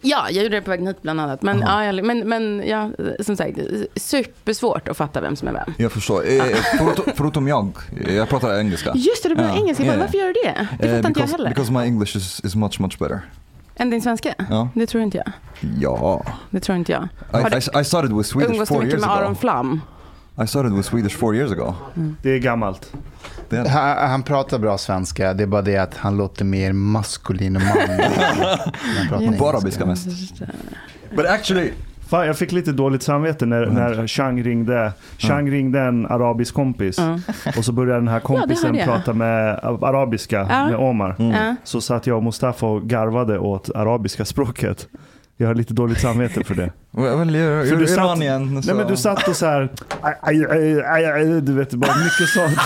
Ja, jag gjorde det på vägen hit bland annat. Men, ja, jag, men, men ja, som sagt, supersvårt att fatta vem som är vem. Jag förstår. Eh, förutom, förutom jag, jag pratar engelska. Ah. Just det, du pratar Ja, engelska. Jag bara, ja, ja. Varför gör du det? Det fattar Eh, inte jag because, heller. because my English is, is much, much better. Än din svenska? Ja. Det tror inte jag. Ja. Det tror inte jag. I, Har du I, I started with Swedish umgås du four mycket years med ago. Aron Flam? I started with Swedish four years ago. Det är gammalt. Det är, Han, han pratar bra svenska, det är bara det att han låter mer maskulin och manlig. när han pratar bara engelska. biska mest. But actually, Fan, jag fick lite dåligt samvete när, Mm. när Chang ringde. Chang ringde en arabisk kompis och så började den här kompisen Mm. hörde jag. prata med a- arabiska Ja. med Omar. Mm. Ja. Så satt jag och Mustafa och garvade åt arabiska språket. Jag har lite dåligt samvete för det. well, you're, För you're du satt- Iranian. Nej men du satt och så här, aj, aj, aj, aj, aj, du vet bara mycket sånt.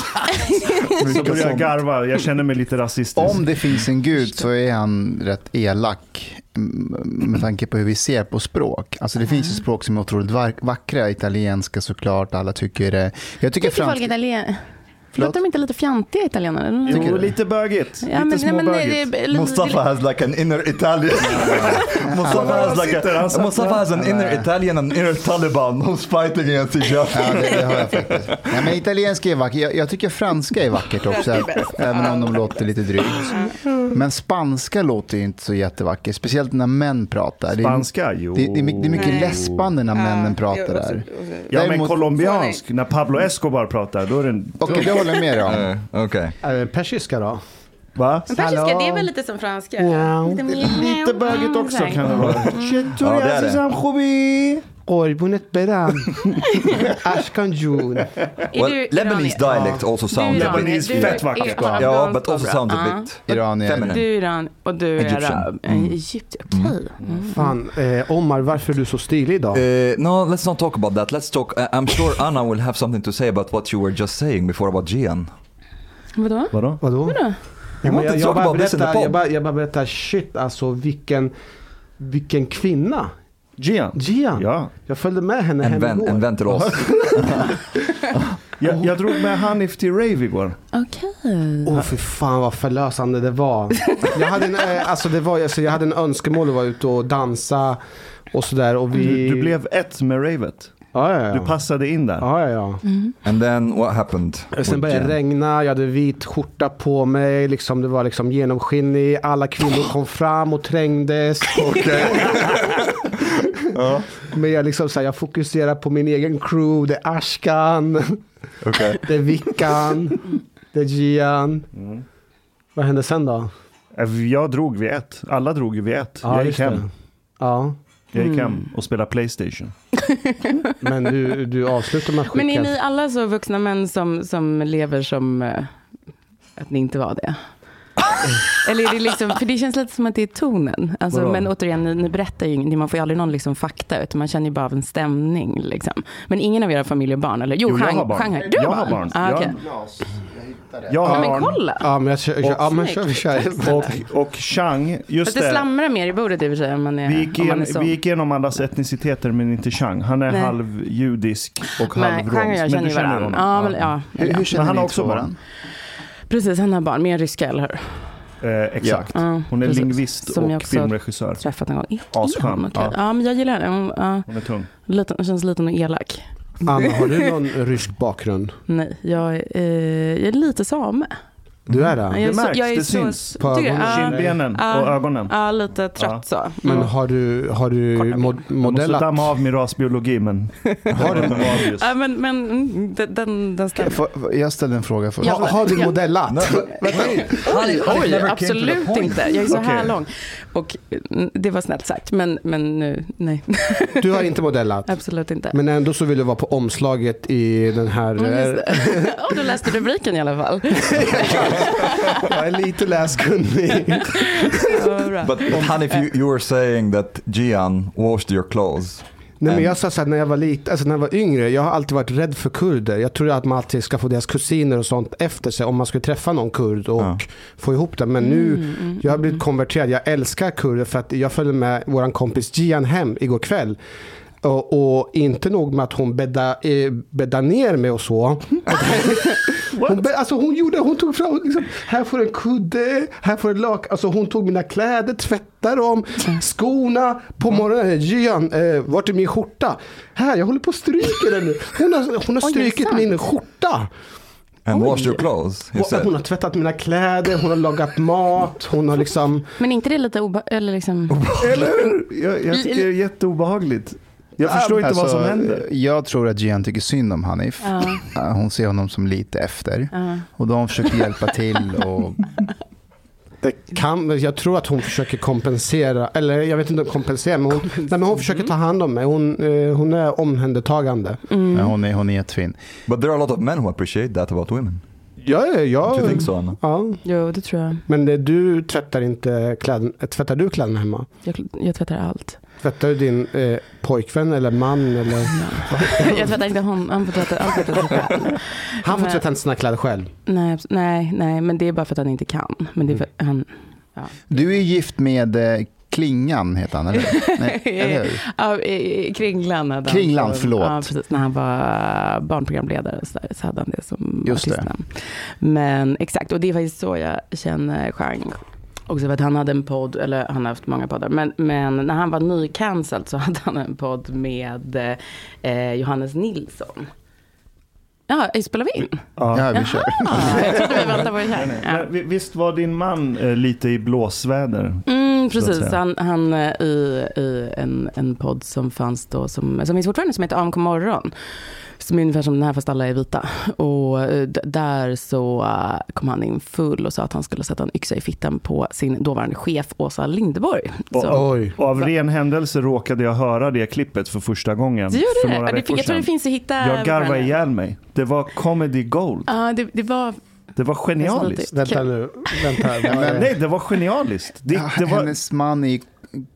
Så började jag garva, jag känner mig lite rasistisk. Om det finns en gud så är han rätt elak mm, med tanke på hur vi ser på språk. Alltså det finns ju Mm. språk som är otroligt va- vackra, italienska såklart, alla tycker det. Jag tycker, Tycker folk franska... italien... Förlåt? Låter de inte lite fjantiga italienare? Eller? Jo, lite bögigt. Ja, men- lite nej, men det- småbögigt. det- det- Mustafa has like an inner Italian. Mustafa has like sitter, a, han satt Mustafa där. has an inner Italian and inner Taliban who's fighting against each Ja, other. det, det har jag faktiskt. Nej, men italienska är vackert. Jag, jag tycker franska är vackert också, även om de låter lite drygt. Men spanska låter ju inte så jättevackert, speciellt när män pratar. Det är- Spanska? Jo. Det, det, är mycket, det är mycket Nej. läspande när männen pratar där. Ja men Däremot- colombiansk, när Pablo Escobar pratar, då är den... Okej, det håller jag med dig om. Eh, Okej. Eh, Persiska då? Va? Men persiska, det är Hallå. väl lite som franska? Mm. Ja. Lite bögigt också kan det vara. Ja, det är alltså det. Orbunet beram. Ashkanjun. Well, Lebanese dialect also sounds a bit. Lebanese, fett vackert. Ja, but also sounds a bit. Iranier. Du är Iran och du är Egyptian. arab. Mm. Egyptian, okej. Mm. Fan, eh, Omar, varför är du så stilig idag? Uh, no, let's not talk about that. Let's talk. I- I'm sure Anna will have something to say about what you were just saying before about Gian. Vadå? Vadå? Vadå? Jag, want to jag, talk jag, bara about this in the berättar, pod. jag, bara, jag bara berättar, shit alltså vilken, vilken kvinna. Gian? Gian. Ja. Jag följde med henne And hem then, igår. and then to us. Jag, jag drog med Hanif till rave igår. Okej. Mm. Åh oh, för fan vad förlösande det var. Jag hade en, eh, alltså det var, alltså, jag hade en önskemål att vara ute och dansa och sådär. Och vi... Du, du blev ett med ravet. Ja, ja, ja. Du passade in där. Ja, ja, ja. And then what happened? Och Sen with började det Gian? regna, jag hade vit skjorta på mig, liksom, det var liksom genomskinlig, alla kvinnor kom fram och trängdes. Men jag, liksom, så här, jag fokuserar på min egen crew, det är Ashkan, Okej. det är Vickan, det är Gian. Vad hände sen då? Mm. Äh, Jag drog vid ett. Alla drog ju vid ett. Ja, jag gick just hem. det. Ja, Mm. Jag gick hem och spelade Playstation. men du, du avslutar med att skicka. Men är ni alla så vuxna män som, som lever som eh, att ni inte var det? Eller är det liksom, för det känns lite som att det är tonen. Alltså, Vadå? men återigen, ni, ni berättar ju ingenting. Man får ju aldrig någon liksom fakta, utan man känner ju bara av en stämning. Liksom. Men ingen av era familjer har barn? Eller? Jo, Jo, jag Shang- har barn. Shanghai. Du har Jag barn? har barn. Ah, Jag- okej. Jag Ja, har men barn. kolla. Ja, men jag kör, kör, ja, men kör, vi kör istället. Och, och Chang, just Fast det det. slamrar mer i bordet i och för sig om man är, Vi gick, om man igen, är så. vi gick igenom allas etniciteter men inte Chang. Han är Nej. halvjudisk och Nej, halvromsk. Chang och jag känner ju varandra. Ja, men, ja. Hur, hur känner han ni har också två barn. varandra? Precis, han har barn. Mer ryska, eller hur? Eh, exakt. Ja, Hon är precis. lingvist Som jag och också filmregissör. Träffat en gång. Är hon Asskön, okej? ja. Ja. men jag gillar henne. Hon ja, Hon är tung. lite- hon känns lite nog elak. Anna, har du någon rysk bakgrund? Nej, jag, är, eh, jag är lite same. Du är det? jag är Det märks, jag är det syns. På tycker du? ögonen. Ja, Kindbenen Ja. och ögonen. ja, lite trött så. Men Mm. har du, har du mod, Jag måste modellat? damma av min rasbiologi men... Har du Ja, men, men mm, den, den, den stämmer. Får- får- Jag ställde en fråga först. Ha, har du modellat? Oj, absolut inte. Jag är så här Okej. lång. Och mm, det var snällt sagt, men, men nu, nej, Du har inte modellat? absolut inte. Men ändå så vill du vara på omslaget i den här... Mm, just det. Ja, du läste rubriken i alla fall. eh, jag är lite läskunnig. Ja, vad bra. But, but Hanif, you, you were saying that Gian washed your clothes. Nej, men jag sa så här, när jag var lite, alltså när jag var yngre, jag har alltid varit rädd för kurder. Jag tror att man alltid ska få deras kusiner och sånt efter sig om man skulle träffa någon kurd och Ja. få ihop det. Men nu, jag har blivit konverterad. Jag älskar kurder för att jag följde med vår kompis Gian hem igår kväll. Och, och inte nog med att hon bäddade eh, bädda ner mig och så. Hon, be- alltså hon, gjorde, hon tog fram, liksom, här får du en kudde, här får du en lak. Alltså hon tog mina kläder, tvättade dem, skorna. Mm. På morgonen, Gian, eh, vart är min skjorta? Här, jag håller på och stryker den nu. Hon har, hon har Oj, strykit sant? min skjorta. And washed your clothes, he Hon, hon said. har tvättat mina kläder, hon har lagat mat, hon har liksom... Men inte det lite oba... Eller liksom... Jag, jag tycker det är jätteobehagligt. Jag förstår inte vad Alltså, som händer. Jag tror att Gian tycker synd om Hanif. Ja. Eh, Hon ser honom som lite efter. Och de försöker hjälpa till. Och, eh, Kan, jag tror att hon försöker kompensera, eller jag vet inte om kompensera, men hon, nej, men hon försöker ta hand om mig. Hon, eh, hon är omhändertagande. Mm. men hon, är, hon är jättefin. But there are a lot of men who appreciate that about women. Ja, ja, ja. Do you think so, Anna? ja. Jo, det tror jag. Men det, du tvättar inte kläderna, tvättar du kläderna hemma? Jag, jag tvättar allt. Tvättar du din eh, pojkvän eller man? Eller? jag tvättar inte hon. Han får tvätta allt. tvättar sig själv. Han får Nej. tvätta inte sina kläder själv. Nej, abs- nej, nej, men det är bara för att han inte kan. Men det är för Mm. att han... Du är gift med eh, Klingan, heter han, eller Nej, eller hur? Ja, i- i Kringlan hade han Kringlan, som- förlåt. Ja, precis. När han var barnprogramledare och så, där, så hade han det som Just det. artistnamn. Men exakt, och det är faktiskt så jag känner Chang. Också för att han hade en podd, eller han har haft många poddar, men, men när han var nycancelled så hade han en podd med eh, Johannes Nilsson. Ja, spelar vi in? Ja, vi kör. Ah, jag trodde vi väntade på det här. Ja. Men vi- Visst var din man eh, lite i blåsväder? Mm, så att precis. säga. Han, han eh, i, i en, en podd som fanns då, som, som finns fortfarande, som heter AMK morgon. Som är ungefär som den här fast alla är vita. Och eh, d- där så eh, kom han in full och sa att han skulle sätta en yxa i fittan på sin dåvarande chef Åsa Linderborg. Och, Så- och, Oj. och av ren händelse råkade jag höra det klippet för första gången. Så gjorde för det? några Ja, det veckor fick, jag tror det sedan. finns att hitta. jag garvade fortfarande. ihjäl mig. Det var comedy gold. Ja, det, det var... Det var genialiskt. Precis. Vänta nu. Vänta, vad är det? Nej, det var genialiskt. Det, det var, Hennes man är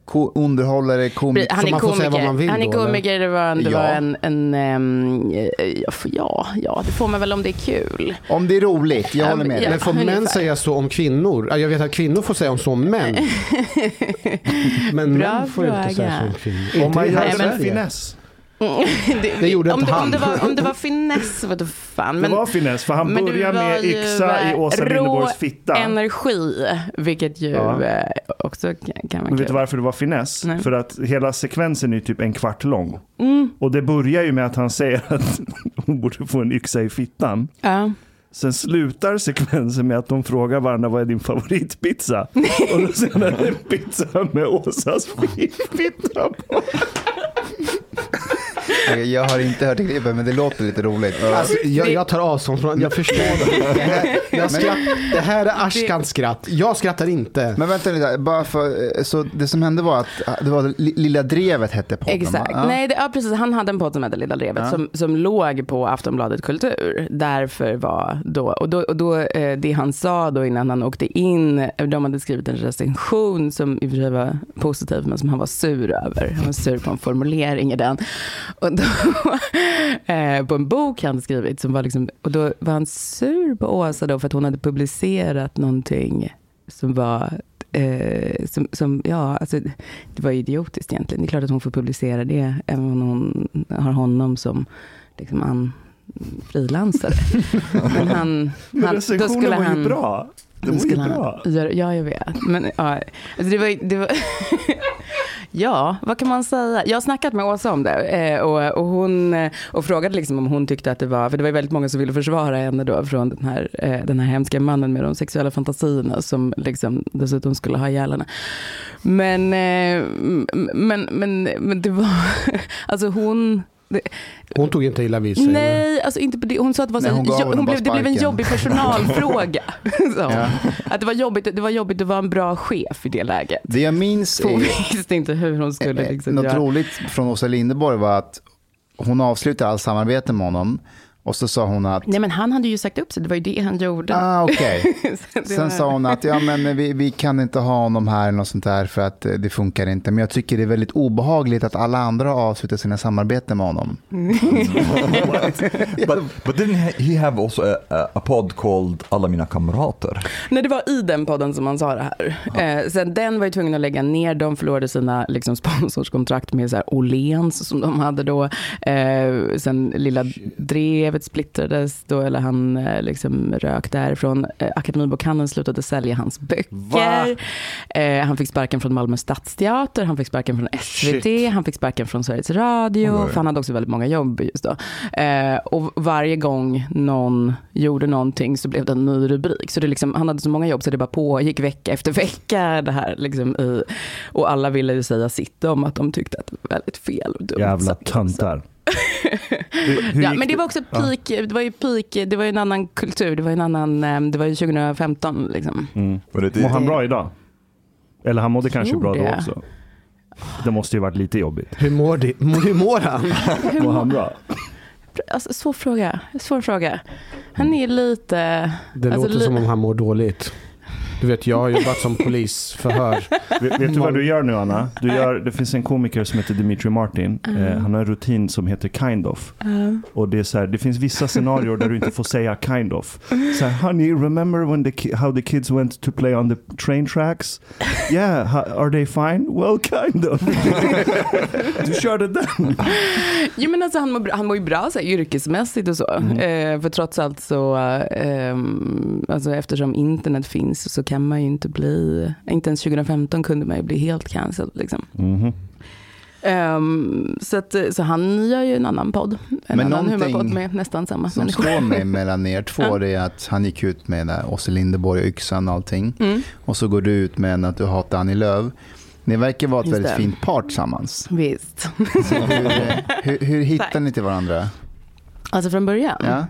ko- underhållare, komiker. Så Han är man får säga vad man vill komiker, han är då, eller? komiker det var en, det var Ja. en, en ehm, eh, ja, för- ja, ja, det får man väl om det är kul. Om det är roligt, jag håller med dig. Men får män ungefär. säga så om kvinnor? Ja, Jag vet att kvinnor får säga så om män. Men Bra män får inte säga så om fråga. kvinnor. om man Inte i gör hela Nej, men- Mm. en Sverige. finess. det, Det gjorde om inte det, han. Om det var, om det var finess, vad fan. Det var finess, för han men det börjar var med ju, yxa i eh, Åsa rå Linderborgs fitta. energi, vilket ju Ja. eh, också kan, kan vara Men kul. vet du varför det var finess? Nej. För att hela sekvensen är typ en kvart lång. mm, Och det börjar ju med att han säger att hon borde få en yxa i fittan. Ja. Sen slutar sekvensen med att de frågar varandra vad är din favoritpizza? Och då säger han "Det är en pizza med Åsas fitta på. Okej, Jag har inte hört klippet, men det låter lite roligt. Alltså, jag, jag tar avstånd från Jag förstår det. Det här, jag skratt, det här är Ashkans skratt. Jag skrattar inte. Men vänta lite, bara för, så det som hände var att ah, det var Li- Lilla Drevet hette podden va? Exakt. Ja. Nej, det, ja, precis. Han hade en podd som hette Lilla Drevet som, som låg på Aftonbladet Kultur. Därför var då, och då, och då eh, det han sa då innan han åkte in, eh, de hade skrivit en recension som i och för sig var positiv, men som han var sur över. Han var sur på en formulering i den. Och då, eh, på en bok han skrivit, som var liksom, och då var han sur på Åsa då för att hon hade publicerat någonting som var Eh, som, som, ja, alltså, det var ju idiotiskt egentligen. Det är klart att hon får publicera det, även om hon har honom som liksom, an, frilansare. Men han... han Men då recensionen skulle var ju han, bra. då Den var ju skulle bra. han, göra- ja, jag vet. Men, ja, alltså, det var, ju- det var, ja, vad kan man säga? Jag har snackat med Åsa om det eh, och, och hon eh, och frågade liksom om hon tyckte att det var, för det var ju väldigt många som ville försvara henne då från den här, eh, den här hemska mannen med de sexuella fantasierna som liksom dessutom skulle ha ihjäl henne. Men, eh, m- men, men, men det var, alltså hon, det, Hon tog inte illa vid sig. Nej, alltså inte på det. hon sa att det, var så Nej, hon gav jo, honom hon bara blev, det blev en sparken. jobbig personalfråga. sa hon. Att det var, jobbigt, det var jobbigt att vara en bra chef i det läget. Det jag minns För är Eh, hon visste inte hur hon skulle liksom Något göra. roligt från Åsa Linderborg var att hon avslutade allt samarbete med honom och så sa hon att, Nej men han hade ju sagt upp sig, det var ju det han gjorde. ah okej. Så det var- Sen sa hon att ja, men vi, vi kan inte ha honom här eller något sånt där för att eh, det funkar inte. Men jag tycker det är väldigt obehagligt att alla andra har avslutat sina samarbeten med honom. Mm. But, but didn't he- he have also a, a- a pod called Alla mina kamrater? Nej, det var i den podden som han sa det här. Eh, sen den var ju tvungen att lägga ner. De förlorade sina liksom, sponsorskontrakt med så här, Åhléns som de hade då. Eh, sen Lilla Drevet splittrades då, eller han eh, liksom rök därifrån. Eh, Akademibokhandeln slutade sälja hans böcker. Eh, han fick sparken från Malmö Stadsteater, han fick sparken från SVT, han fick sparken från Sveriges Radio. Oj. För han hade också väldigt många jobb just då. Eh, och varje gång någon gjorde någonting så blev det en ny rubrik. Så det liksom, han hade så många jobb så det bara pågick vecka efter vecka. Det här, liksom, i, och alla ville ju säga sitt om att de tyckte att det var väldigt fel och dumt. Jävla Så- töntar. Hur- hur Ja, gick men det var också peak, det var ju peak, det var ju en annan kultur, det var ju en annan, eh, det var ju 2015 liksom. Var det Mm. Mår det? han bra idag? Eller han mådde kanske tror bra då det. också. Det måste ju varit lite jobbigt. Hur mår, det? Hur mår han? Mår han bra? Alltså, svår fråga, svår fråga. Han är lite... Det alltså, låter li- som om han mår dåligt. Du vet, jag har jobbat som polisförhör. Vet, vet du vad du gör nu Anna? Du gör, det finns en komiker som heter Dimitri Martin. Ah. Eh, han har en rutin som heter Kind of. Och det, är så här, det finns vissa scenarier där du inte får säga Kind of. Så här, Honey, remember when the ki- how the kids went to play on the train tracks? Yeah, ha- are they fine? Well, kind of. du körde den. Jo men alltså han mår, bra- han mår ju bra så här, yrkesmässigt och så. Mhm. Eh, för trots allt så, eh, ehm, alltså eftersom internet finns så kan man ju inte bli, inte ens 2015 kunde man ju bli helt cancelled liksom. Mhm. Ehm, så, att, eh, så han gör ju en annan podd. En Men annan någonting humorpodd med nästan samma Som människor. står mig mellan er två det är att han gick ut med där Åse Linderborg och yxan och allting. Mm. Och så går du ut med en att du hatar Annie Lööf. Ni verkar vara ett Just väldigt det. fint par tillsammans. Visst. Hur, hur hittar Tack. ni till varandra? Alltså från början. Ja?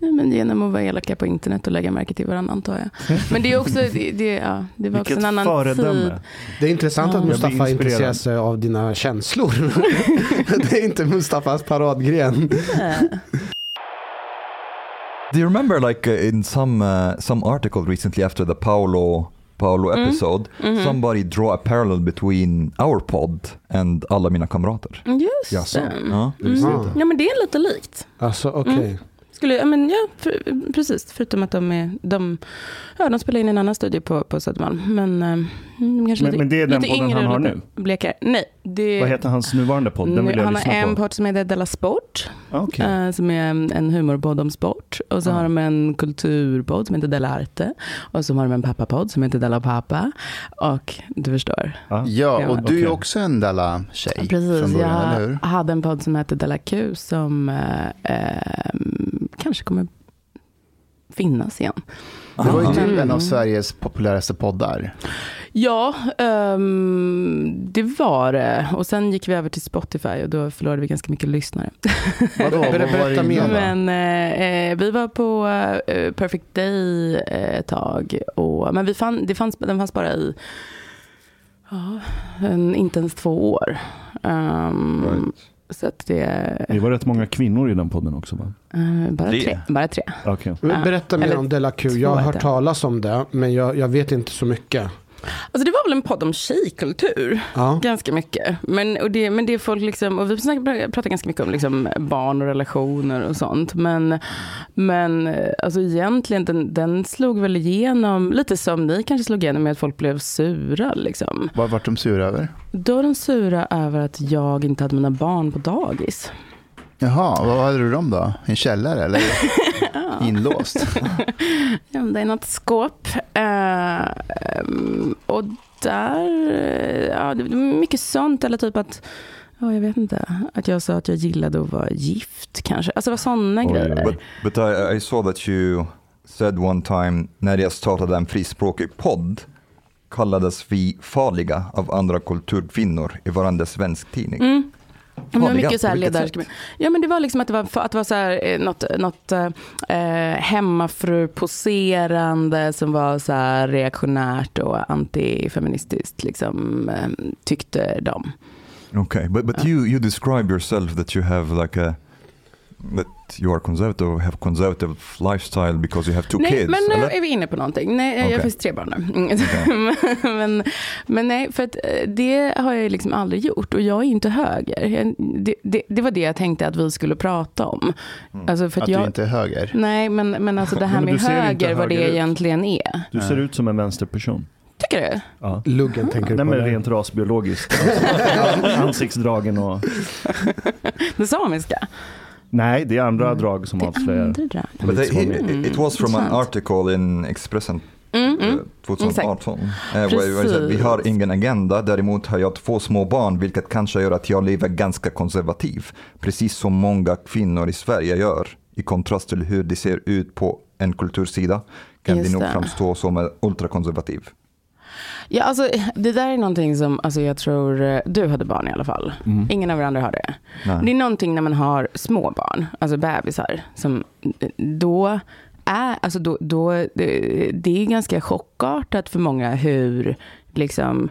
Nej, men genom att vara elaka på internet och lägga märke till varandra antar jag. Men det är också, det, det, ja, det var också Vilket en annan tid. föredöme. Det är intressant att blir Mustafa inspirerad. intresserar sig av dina känslor. det är inte Mustafas paradgren. Eh, Do you remember like uh, in some uh, some article recently after the Paolo Paolo Mm. episode, Mm-hmm. somebody draw a parallel between our pod and alla mina kamrater? Mm, Just Jaså? det. Mm. Ja. Mm. Ja men det är lite likt. Alltså okej. Skulle, ja, men ja, för, precis. Förutom att de, är, de, ja, de spelar in i en annan studio på, på Södermalm. Men, eh, mm, kanske Men- lite, men det är den lite podden yngre han och har lite Blekare. Nej, det, Vad heter hans nuvarande podd? Den nu- vill jag han har lyssna på. en podd som heter Della Sport, Ah, okej. Ah. eh, som är en, en humorpodd om sport. Och så har de en kulturpodd som heter Della Arte. Och så har de en pappapodd som heter Della Pappa. Och du förstår. Ja, Ja. och du är Ah. Okej. också en Dalla-tjej Precis, från början, eller hur? jag hade en podd som hette Della Q som eh, eh, kanske kommer finnas igen. Det var ju typ Aha. Mm. en av Sveriges populäraste poddar. Ja, ehm, det var det. Och sen gick vi över till Spotify och då förlorade vi ganska mycket lyssnare. Vadå, vad var det Berätta mer. innan då? Men eh, eh, vi var på eh, Perfect Day eh, ett tag. Och, men vi fann, det fanns, den fanns bara i ja, en, inte ens två år. Ehm, Så att det Det var rätt många kvinnor i den podden också va? eh, bara Tre. tre. Bara tre. Okej. Men Berätta mer Eller om Della Q. Jag två har hört heter talas om det, men jag, jag vet inte så mycket. Alltså det var väl en podd om tjejkultur. Ja. Ganska mycket. Men, och det, men det är folk liksom, och vi snackar- pratar ganska mycket om liksom barn och relationer och sånt. Men, men eh, alltså egentligen, den, den slog väl igenom, lite som ni kanske slog igenom med att folk blev sura. Liksom. Vad vart de sura över? Då är de sura över att jag inte hade mina barn på dagis. Jaha, vad hade du dem då? I En källare eller inlåst? gömda i något skåp. Eh, ehm, och där, eh, ja, det var mycket sånt. Eller typ att, ja, jag vet inte, att jag sa att jag gillade att vara gift kanske. Alltså det var sådana grejer. But, but I, I saw that you said one time när jag startade en frispråkig podd kallades vi farliga av andra kulturkvinnor i varenda svensk tidning. Ja, Mm. Men det Farliga? var mycket så här På vilket ledar... sätt? Ja men det var liksom att det var, att det var så här, eh, något, något eh, eh, hemmafru-poserande som var så här reaktionärt och antifeministiskt liksom, eh, tyckte de. Okay, but but you you describe yourself that you have like a that you are conservative, or have conservative lifestyle because you have two nej, kids. men nu eller? är vi inne på någonting. Nej, jag Okej. har faktiskt tre barn nu. Mm. men, men nej, för att eh, det har jag ju liksom aldrig gjort. Och jag är ju inte höger. Jag, det, det, det var det jag tänkte att vi skulle prata om. Alltså för att Att du jag, inte är höger? Nej, men, men alltså det här men med du ser inte höger, vad det höger ut. egentligen är. Du ser ut som en vänsterperson. Tycker du? Ja. Luggen tänker du Nej på. men där. rent rasbiologiskt. Ansiktsdragen och... Det samiska? Mm. Nej, det är andra drag som Det avslöjar. andra drag. But Politisk it, it, hållning. it was from an intressant. article in Expressen Mm, eh, mm. 2018. eh, where- where it said, Vi Precis. har ingen agenda, däremot har jag två små barn vilket kanske gör att jag lever ganska konservativ. Precis som många kvinnor i Sverige gör. I kontrast till hur det ser ut på en kultursida kan Just det nog det. framstå som eh, ultrakonservativ. Ja, alltså, det där är någonting som alltså, jag tror eh, du hade barn i alla fall. Ingen av er andra har det. Nej. Det är någonting när man har små barn, alltså bebisar, som eh, då är, alltså då, då, det, det är ganska chockartat för många hur, liksom,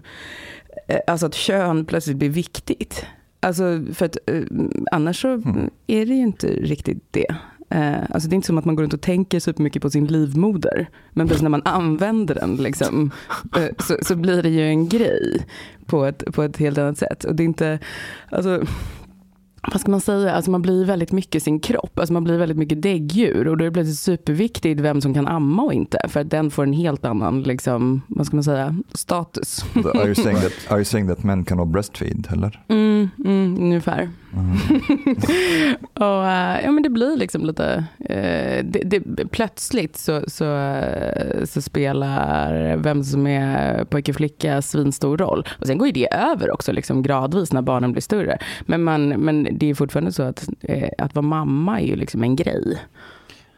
eh, alltså att kön plötsligt blir viktigt. Alltså för att eh, annars så är det ju inte riktigt det. Eh, alltså det är inte som att man går runt och tänker supermycket på sin livmoder. Men precis när man använder den liksom, eh, så, så blir det ju en grej på ett, på ett helt annat sätt. Och det är inte, alltså, vad ska man säga, alltså man blir väldigt mycket sin kropp. Alltså man blir väldigt mycket däggdjur. Och då är det plötsligt superviktigt vem som kan amma och inte. För att den får en helt annan, liksom, vad ska man säga, status. Are you saying that, are you saying that men cannot breastfeed eller? Mm, mm, ungefär. och, eh, ja, men det blir liksom lite... eh, det, det, plötsligt så, så, eh, så spelar vem som är pojke och flicka svinstor roll. Och sen går ju det över också liksom, gradvis när barnen blir större. Men, man, men det är fortfarande så att, eh, att vara mamma är ju liksom en grej.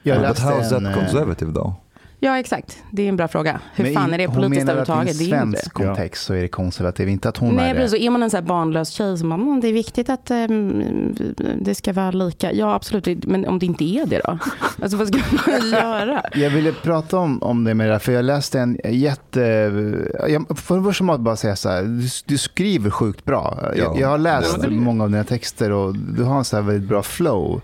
Jag But how is läste that en, eh, conservative though? Ja, exakt. Det är en bra fråga. Hur men fan i- är det hon politiskt menar att överhuvudtaget? Det I är ju inte. svensk kontext så är det konservativ, inte att hon Nej, är precis. det. Och är man en så här barnlös tjej som bara, "Mm, det är viktigt att eh, mm, det ska vara lika. Ja, absolut. Det- Men om det inte är det då? Alltså vad ska man göra? Jag ville prata om, om det med det här, för jag läste en jätte... Jag, för det första måste jag bara säga så här, du, du skriver sjukt bra. Ja. Jag, jag har läst Ja. många av dina texter och du har en så här väldigt bra flow.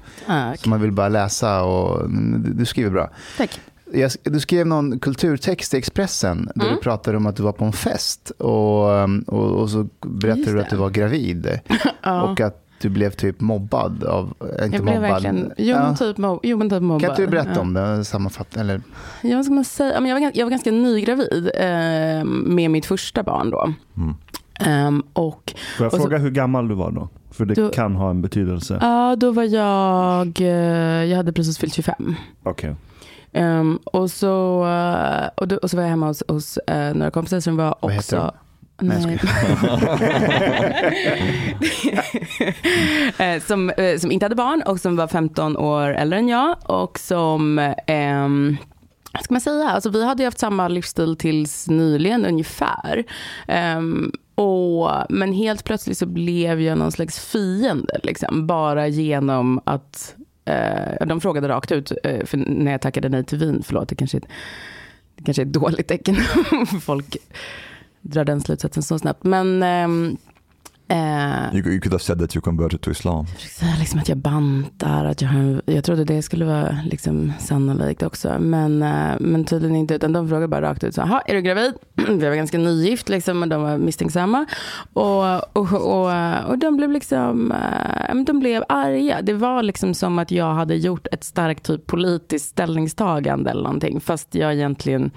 Som man vill bara läsa och mm, du, du skriver bra. Tack. Jag, du skrev någon kulturtext i Expressen där Mm. du pratade om att du var på en fest och, och, och så berättade Just du det. att du var gravid och att du blev typ mobbad av, äh, inte Jag blev mobbad. verkligen, jo, men Ja. typ mob, jo men typ mobbad. Kan inte du Ja. berätta om det? Sammanfatt, eller, Ja, vad ska man säga? Ja, men jag, var, gans- jag var ganska nygravid eh, med mitt första barn då. Mm. Ehm, och Får jag Och så- fråga hur gammal du var då? För det Du- kan ha en betydelse. ja, då var jag, eh, jag hade precis fyllt 25. Okej. Ehm, och, så, eh, och, då, och så var jag hemma hos, hos eh, några kompisar som var Vad heter också... Nej, jag Nej. Eh, som, eh, som inte hade barn och som var 15 år äldre än jag och som ehm, vad ska man säga? Alltså, vi hade ju haft samma livsstil tills nyligen ungefär. Ehm, och, men helt plötsligt så blev jag någon slags fiende. Liksom, bara genom att... eh, de frågade rakt ut eh, för när jag tackade nej till vin. Förlåt, det kanske, det kanske är ett dåligt tecken. Folk drar den slutsatsen så snabbt. Men... ehm, eh, You, you could have said that you converted to Islam. så här, liksom att jag bantar, att jag, har en- jag trodde det skulle vara liksom sannolikt också. Men, eh, men tydligen inte, utan de frågade bara rakt ut, så, "Jaha, är du gravid? Vi var ganska nygift, liksom, men de var misstänksamma. Och, och, och, och de blev liksom, eh, ja, men de blev arga. Det var liksom som att jag hade gjort ett starkt typ politiskt ställningstagande eller någonting, fast jag egentligen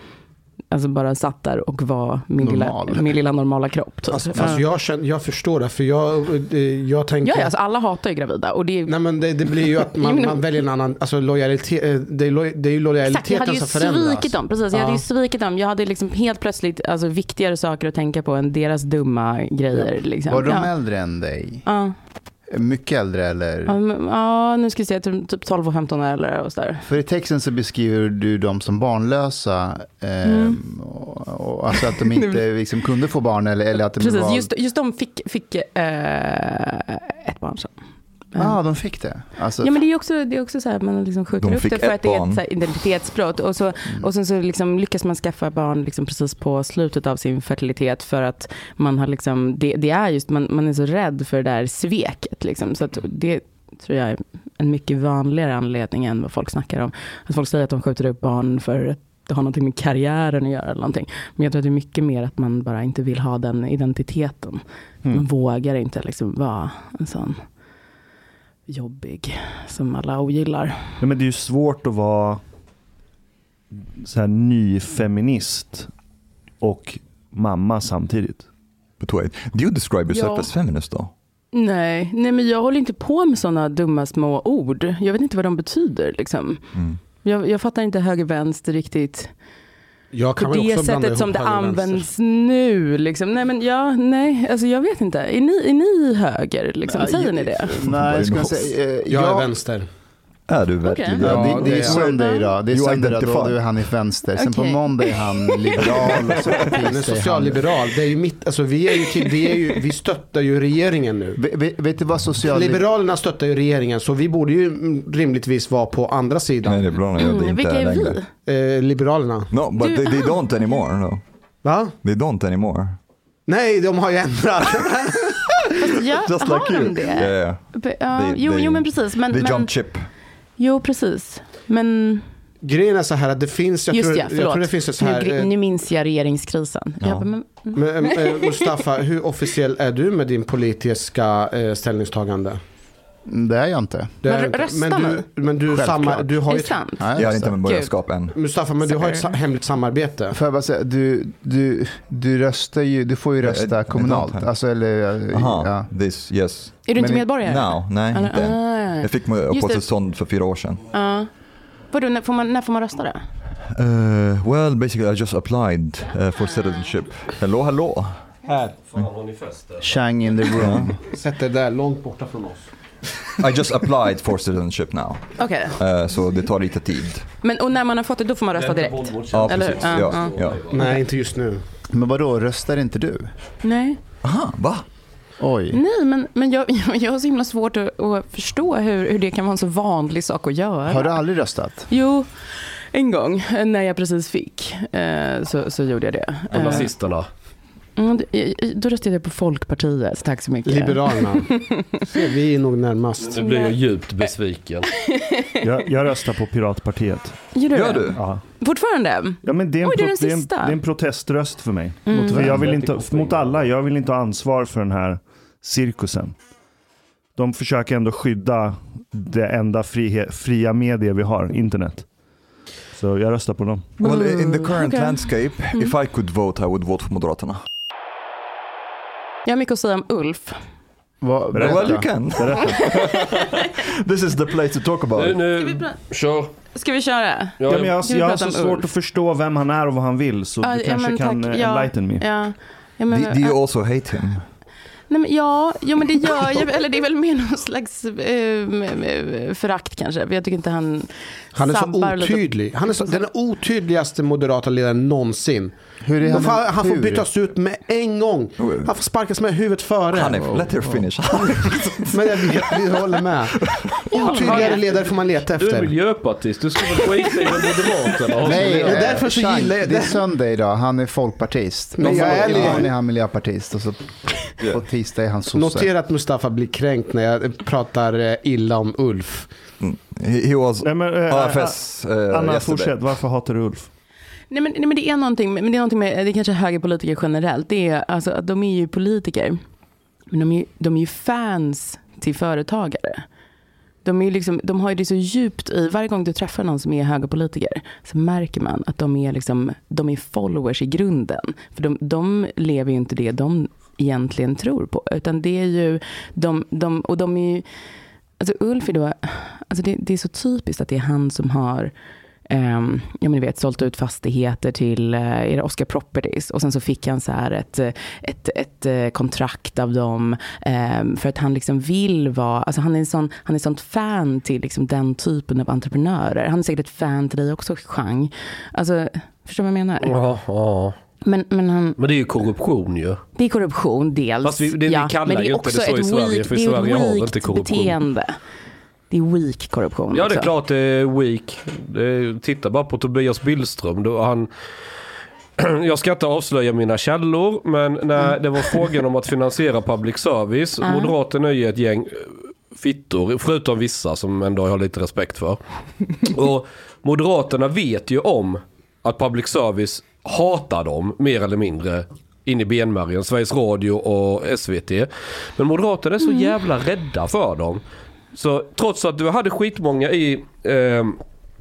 Alltså bara satt där och var min, lilla, Normal. min lilla normala kropp. Typ. Alltså, alltså jag, känner, jag förstår det, för jag, eh, jag tänker... ja, ja, alltså alla hatar ju gravida. Och det är Nej men det, det blir ju att man, Jo, men- man väljer en annan, alltså lojalitet, eh, det är, loj, det är ju lojaliteten som Exakt, jag hade ju förändras. svikit dem. Precis, jag hade ju svikit dem. Jag hade liksom helt plötsligt alltså, viktigare saker att tänka på än deras dumma grejer. Liksom. Var de ja. äldre än dig? Ja. Mycket äldre eller? Ja, men- ja, nu ska vi se, typ typ 12 och 15 år eller och sådär. För i texten så beskriver du dem som barnlösa. Eh, Mm. och, och, alltså att de inte liksom, kunde få barn eller, eller att de Precis, var... just, just de fick, fick eh, ett barn sen. Ja, ah, de fick det. Alltså, Ja men det är ju också, det är också så här, man liksom skjuter De upp fick det för ett att det är barn. ett så här, identitetsbrott. Och, så, och sen så liksom lyckas man skaffa barn liksom precis på slutet av sin fertilitet för att man har liksom, det, det är just, man, man är så rädd för det där sveket liksom. Så att det tror jag är en mycket vanligare anledning än vad folk snackar om. Att folk säger att de skjuter upp barn för att det har någonting med karriären att göra eller någonting. Men jag tror att det är mycket mer att man bara inte vill ha den identiteten. Man vågar inte liksom vara en sån jobbig som alla ogillar. Ja, men det är ju svårt att vara så här nyfeminist och mamma samtidigt. But wait, do you describe yourself Ja. as feminist då? Nej, nej, men jag håller inte på med sådana dumma små ord. Jag vet inte vad de betyder. Liksom. Mm. Jag, jag fattar inte höger-vänster riktigt. Jag kan På väl det också blanda sättet ihop som det höger och vänster. används nu. Liksom. Nej, men ja, nej, alltså jag vet inte. Är ni, är ni höger? Liksom? Nej, Säger jag- ni det? Nej, jag skulle säga... Eh, Jag är jag- vänster. Är du verkligen Ja, det, det är Ja, det är- söndag idag. Det är You söndag idag, då identify. är han i vänster. Sen på Okej. måndag är han liberal. och så på tisdag är Men han- socialliberal, det är ju mitt, alltså vi är ju till, det är ju, vi stöttar ju regeringen nu. Ve- ve- Vet du vad socialliberal... Liberalerna stöttar ju regeringen, så vi borde ju mm, rimligtvis vara på andra Nej, sidan. det är bra när jag det inte Mm, Vilka är längre. vi? Eh, liberalerna. No, but they, they don't anymore. No. Va? They don't anymore. Nej, de har ju ändrat. Ja, Just har like de you. det? Yeah, yeah. Be- ja, They- jo, they- jo, men precis. Men, They men, jump chip. jo, precis. Men Grejen är så här att det finns, jag, just tror, ja, jag förlåt. tror det finns ett så här. nu, gri- eh, nu minns jag regeringskrisen. Jag bara, men, Men, eh, Mustafa, hur officiell är du med din politiska eh, ställningstagande? Mm, Det är jag inte. Det Men är rö- inte- röstar men man? du, men du, Självklart. samma, du är har ju det ett, sant? Nej, Jag har alltså. inte med börjarskap än. Mustafa, men du har ett Sorry. sa- hemligt samarbete. Får jag bara säga, du, du, du, röstar ju, du får ju Eh, rösta eh, kommunalt. don't- Alltså, eller, Aha, ja. this, yes. Är du inte Men- medborgare? Now, nej, Eller- inte än. Ah. Jag fick det. uppehållstillstånd för fyra år sedan. Ja. Vadå, när får man, när får man rösta då? Uh, well, basically I just applied uh, for citizenship. Hello, hello. Chang in the room. Sätt dig där, långt borta från oss. I just applied for citizenship now. Okej. Eh, så det tar lite tid. Men och när man har fått det, då får man rösta direkt? Ja, Eller precis. hur? Ja, Ja, ja. Nej, inte just nu. Men vadå, röstar inte du? Nej. Aha, va? Mm. Oj. Nej, men, men jag, jag, jag har så himla svårt att, att förstå hur, hur det kan vara en så vanlig sak att göra. Har du aldrig röstat? Jo, en gång eh, när jag precis fick eh, så, så gjorde jag det. Eh, Nazisterna. mm, d- eh, då röstade jag på Folkpartiet, så tack så mycket. Liberalerna. Se, vi är nog närmast. Nu blir jag djupt besviken. Jag, jag röstar på Piratpartiet. Gör du? Gör det? du? Ja. Fortfarande? Ja, men det, är en Oj, du är den pro- det, är en, det sista. är en proteströst för mig. Mm. För jag vill inte, mot alla, jag vill inte ha ansvar för den här cirkusen. De försöker ändå skydda det enda frihe, fria media vi har, internet. Så jag röstar på dem. Well, in the current Mm, Okej. Mm. landscape, if I could vote I would vote för Moderaterna. Jag har mycket att säga om Ulf. Vad- Well, you berätta. can. This is the place to talk about Nu, it. nu, kör. Ska vi köra? Ja, Ja, men jag, Ska vi jag har prata så om svårt Ulf? att förstå vem han är och vad han vill, så Ja, du ja, kanske men kan tack. eh, Ja. enlighten me. Ja. Ja, men, Do, do you also hate him? Nej, men ja, jo, men det gör ju, eller det är väl mer någon slags eh, förakt kanske. För jag tycker inte han typ- Han är så sabbar lite. otydlig. Han är så, den otydligaste moderata ledaren någonsin. Hur är han- han, han, han får hur? bytas ut med en gång. Han får sparkas med huvudet före. Han är, let her finish. Men jag vet, vi håller med. Otydligare ledare får man leta Du är efter. miljöpartist, du ska väl få i dig med Moderaterna? Nej, det är eh, därför så Chang, gillar jag- det är söndag idag, han är folkpartist. Men På jag är måndag ärlig. är han miljöpartist och så på tisdag är han sosse. Notera att Mustafa blir kränkt när jag pratar eh, illa om Ulf. He, he was Nej, men, eh, AFS eh, yesterday. Anna, fortsätt. Varför hatar du Ulf? Nej men, nej men det är någonting, men det är någonting med, det är kanske högerpolitiker generellt, det är alltså att de är ju politiker, men de är ju, de är ju fans till företagare. De, är ju liksom, de har ju det så djupt i, varje gång du träffar någon som är högerpolitiker så märker man att de är, liksom, de är followers i grunden. För de, de lever ju inte det de egentligen tror på. Utan det är ju, de, de, och de är ju, alltså Ulf är då, alltså det, det är så typiskt att det är han som har ehm, ja men ni vet, sålt ut fastigheter till eh, era Oscar Properties och sen så fick han så här ett, eh, ett, ett eh, kontrakt av dem ehm, för att han liksom vill vara, alltså han är en sån, han är sånt fan till liksom den typen av entreprenörer. Han är säkert ett fan till dig också, Chang. Alltså, förstår du vad jag menar? Ja, ja. Men, men han, Men det är ju korruption ju. det är korruption dels. Fast vi- det- vi kallar men ju inte det så i Sverige, weak- för i det är ju Sverige har vi weakt inte korruption. beteende. Det är weak korruption. Ja det är också. klart det är weak. Det är, titta bara på Tobias Billström. Då han, jag ska inte avslöja mina källor men när det var frågan om att finansiera public service. Moderaterna är ju ett gäng eh, fittor, förutom vissa som ändå jag har lite respekt för. Och Moderaterna vet ju om att public service hatar dem mer eller mindre in i benmärgen. Sveriges Radio och SVT. Men Moderaterna är så jävla rädda för dem. Så trots att du hade skitmånga i eh,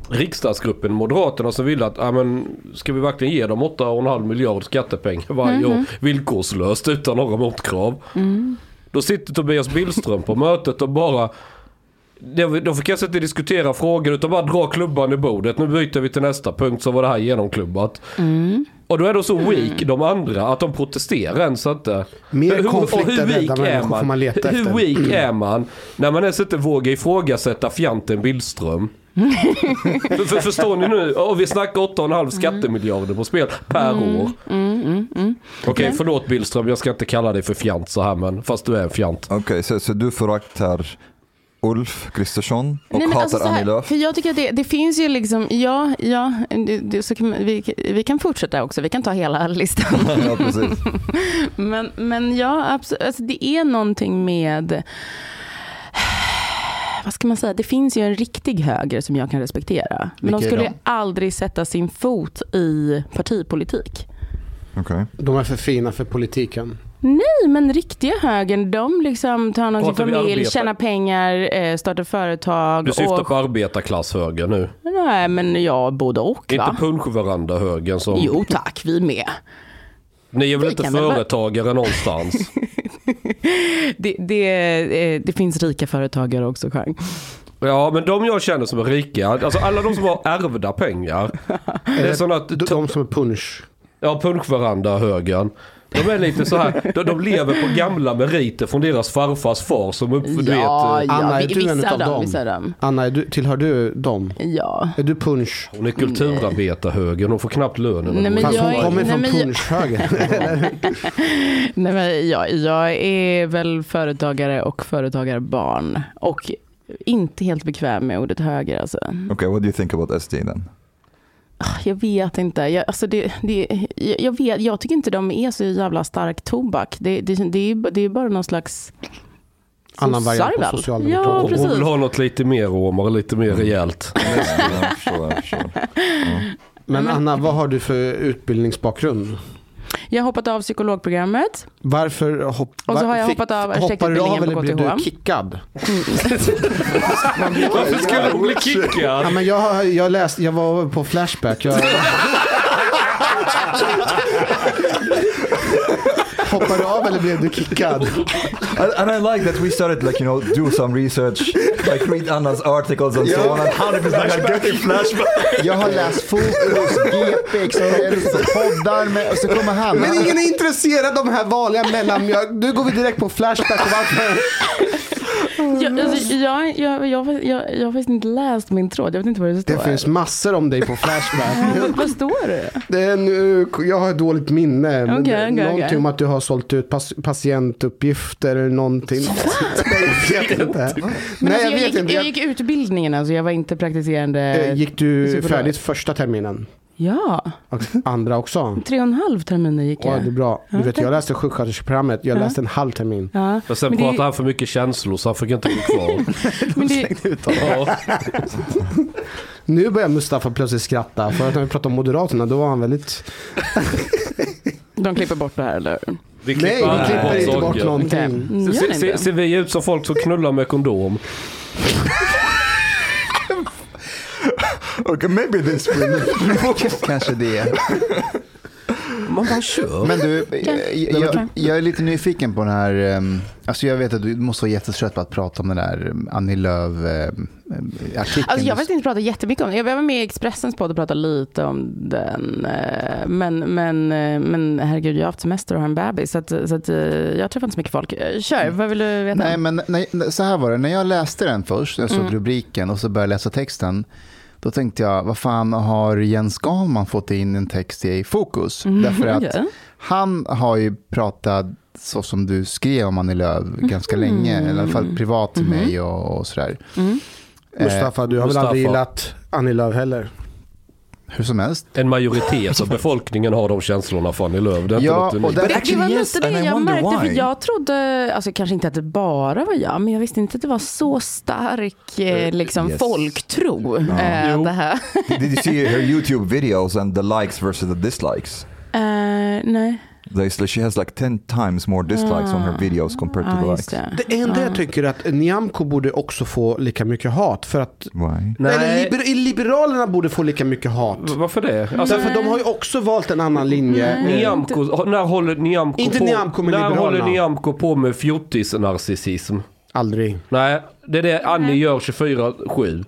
riksdagsgruppen Moderaterna som ville att ja, men, ska vi verkligen ge dem 8,5 miljard skattepengar varje år villkorslöst utan några motkrav. Mm. Då sitter Tobias Billström på mötet och bara de de fick kanske inte diskutera frågor utan bara dra klubban i bordet. Nu byter vi till nästa punkt så var det här genomklubbat. Mm. Och då är de så weak de andra att de protesterar ens inte. Mer Hur- hur- och konflikträdda hur weak människor är får man leta Hur efter. weak är man när man ens inte vågar ifrågasätta fjanten Billström? Mm. för, för, förstår ni nu? Ja, vi snackar 8,5 Mm. skattemiljarder på spel per år. Okej, förlåt Billström. Jag ska inte kalla dig för fjant så här men fast du är en fjant. Okej, så, så du föraktar Ulf Kristersson och men alltså hatar så här, Annie Lööf? För jag tycker att det, det finns ju liksom, ja, ja, det, det, så kan, man- vi, vi kan fortsätta också, vi kan ta hela listan. ja, precis. Men, men ja, absolut. Alltså, det är någonting med... Vad ska man säga? Det finns ju en riktig höger som jag kan respektera. Men Vilka de är skulle de? aldrig sätta sin fot i partipolitik. Okej. De är för fina för politiken. Nej, men riktiga högern, de liksom tar någon sin Pratar vi familj, arbetare? tjänar pengar, eh, startar företag. Du syftar och, på arbetarklasshöger nu. Nej, men jag både och. Va? Inte punschveranda-högern som... Jo tack, vi med. Ni är väl Det inte kan väl vara- företagare någonstans? Det, det, eh, det finns rika företagare också, Chang. Ja, men de jag känner som är rika, alltså alla de som har ärvda pengar. Det är sådana att, De, de som är punch. ja punschveranda-högern. De är lite så här, de, de lever på gamla meriter från deras farfars far som upp, du Ja, vet, eh, Anna, vi- är du en vissa utav av dem, dem? vissa av dem. Anna, är du, tillhör du dem? Ja. Är du punch? hon är kulturarbetarhögern, hon får knappt lönen. Nej, men Fast hon jag- kommer nej, från men jag- punschhöger. Nej, men jag, jag är väl företagare och företagarbarn. Och inte helt bekväm med ordet höger. Alltså. Ah, Okej, what do you think about SD then? Jag vet inte. Jag, alltså det, det, jag, jag vet, jag tycker inte de är så jävla stark tobak. Det, det, det, är, ju- det är bara någon slags... Annan variant Sossar på väl? Socialdemokraterna. Ja, hon, precis. hon vill ha något lite mer romer, lite mer rejält. Jag förstår, jag förstår. Men Anna, vad har du för utbildningsbakgrund? Jag har hoppat av psykologprogrammet. Varför hopp, Och så har jag fick- hoppat av hoppar du av arkitektutbildningen eller på blev KTH? du kickad? Mm. Varför skulle hon bli Ja, kickad? men jag, har- jag, läste, jag var på Flashback. Jag... Hoppade du av eller blev du kickad? And, and I like that we started like you know do some research, like read Anna's articles and so on. And hundred percent I'm getting flashback. Jag har läst Fokus, GP, Expressen, poddar med, och så kommer han. Men ingen är intresserad av de här vanliga mellanmjölk. Nu går vi direkt på Flashback och varför. Jag, alltså, jag, jag, jag, jag, jag har faktiskt inte läst min tråd. Jag vet inte vad det står. Det finns massor om dig på Flashback. Vad- Vad står det? Det är nu, jag har dåligt minne. men Okej, det- okej, någonting okej. om att du har sålt ut pas, patientuppgifter eller någonting. Nej, jag vet inte. Men Nej, alltså, jag, jag vet gick, inte. jag Jag, gick utbildningen, alltså jag var inte praktiserande. eh, gick du Superbra. färdigt första terminen? Ja, Och andra också? tre och en halv terminer gick Ja, jag. det är bra. Du vet, jag läste sjuksköterskeprogrammet. Jag läste en halv termin. Ja. Men sen Men det- pratade han för mycket känslor så han fick inte gå kvar. Men det, ja. Nu börjar Mustafa plötsligt skratta. Förut när vi pratade om Moderaterna, då var han väldigt... de klipper bort det här, eller hur? Vi Nej, aldrig vi klipper inte bort saker. Okej. någonting. Mm, gör Se- ni se- inte? Ser vi ut som folk som knullar med kondom? Okay, maybe this will. Kanske det. Man bara kör. Men du, eh, jag, jag, jag är lite nyfiken på den här, ehm, alltså jag vet att du måste vara jättetrött på att prata om den där ehm, Annie ehm, Lööf-artikeln. Alltså jag vet inte prata jättemycket om det. Jag var med i Expressens podd och pratade lite om den. eh, Men, men, eh, men herregud, jag har haft semester och har en bebis. Så, att, så att, eh, jag träffar inte så mycket folk. Eh, Kör, vad vill du veta? Mm. Nej, men nej, nej, så här var det. När jag läste den först, jag såg rubriken och så började jag läsa texten. Då tänkte jag, vad fan har Jens Gahlman fått in en text i Fokus? Mm, Därför att okej. han har ju pratat så som du skrev om Annie Lööf ganska länge, eller i alla Mm. fall privat till mig och, och sådär. Eh, Mustafa, du har väl Mustafa. aldrig gillat Annie Lööf heller? Hur som helst. En majoritet av befolkningen har de känslorna Fanny Lööf. Det är Ja, inte och något unikt. där- Det, det Actually, var yes, lite and det I jag wonder märkte. För why. jag trodde, alltså kanske inte att det bara var jag, men jag visste inte att det var så stark eh, liksom, yes. folktro. eh, det här. Did you see her YouTube videos and the likes versus the dislikes? Eh, nej. There's, she has like ten times more dislikes on her videos compared to the Ja, Ah. just likes. det. Ah. Det enda Mm. jag tycker är att Nyamko borde också få lika mycket hat. För att Why? Eller Nej, liber- Liberalerna borde få lika mycket hat. varför det? Alltså, Mm. Därför att de har ju också valt en annan linje. Mm. Nyamko, när håller Nyamko Inte på, Nyamko, men när Liberalerna. håller Nyamko på med fjortis-narcissism? Aldrig. Nej, det är det Annie gör 24-7.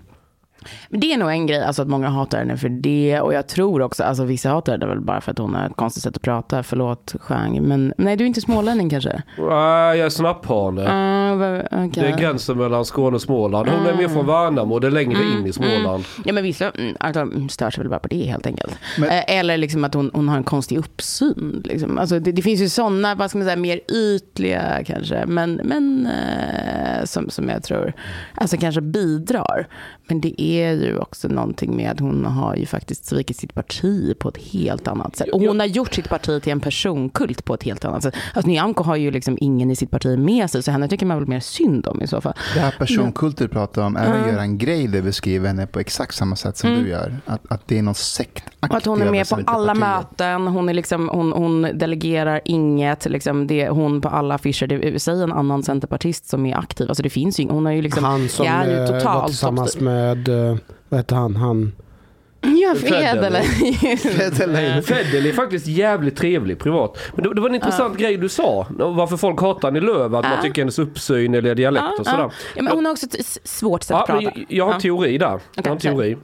Men det är nog en grej, alltså att många hatar henne för det. Och jag tror också, alltså vissa hatar henne väl bara för att hon har ett konstigt sätt att prata. Förlåt, genre. Men nej, du är inte smålänning kanske? Nej, jag är snapphane. Uh, okay. Det är gränsen mellan Skåne och Småland. Hon är mer från Värnamo och det är längre in i Småland. Mm. Ja men vissa mm, alltså, mm, stör sig väl bara på det helt enkelt. Eh, Eller liksom att hon, hon har en konstig uppsyn. Liksom. Alltså, det, det finns ju sådana, vad ska man säga, mer ytliga kanske. Men, men eh, som, som jag tror alltså, kanske bidrar. Men det är ju också någonting med att hon har ju faktiskt svikit sitt parti på ett helt annat sätt. Och hon har gjort sitt parti till en personkult på ett helt annat sätt. Alltså Nyamko har ju liksom ingen i sitt parti med sig. Så henne tycker man väl mer synd om i så fall. Det här personkulter du pratar om, även Göran Greider beskriver henne på exakt samma sätt som du gör. Att, att det är någon sektaktig Mm. Och att hon är med på representant i alla partiet. möten, hon, är liksom, hon, hon delegerar inget, liksom det är hon på alla affischer. Det, säg en annan centerpartist som är aktiv, alltså det finns ju ing- hon har ju liksom, Han som det är ju eh, var totalt tillsammans toppstyrt. med, eh, vad hette han, han? Ja, Fred, Fred eller? Fedel är faktiskt jävligt trevlig privat. Men det, det var en intressant grej du sa. Varför folk hatar Annie Lööf, att man tycker hennes uppsyn eller dialekt och sådär. ja. ja, men hon har också ett s- svårt sätt Ja, att men prata. jag, jag har en teori där. jag har en Okej, kör. teori.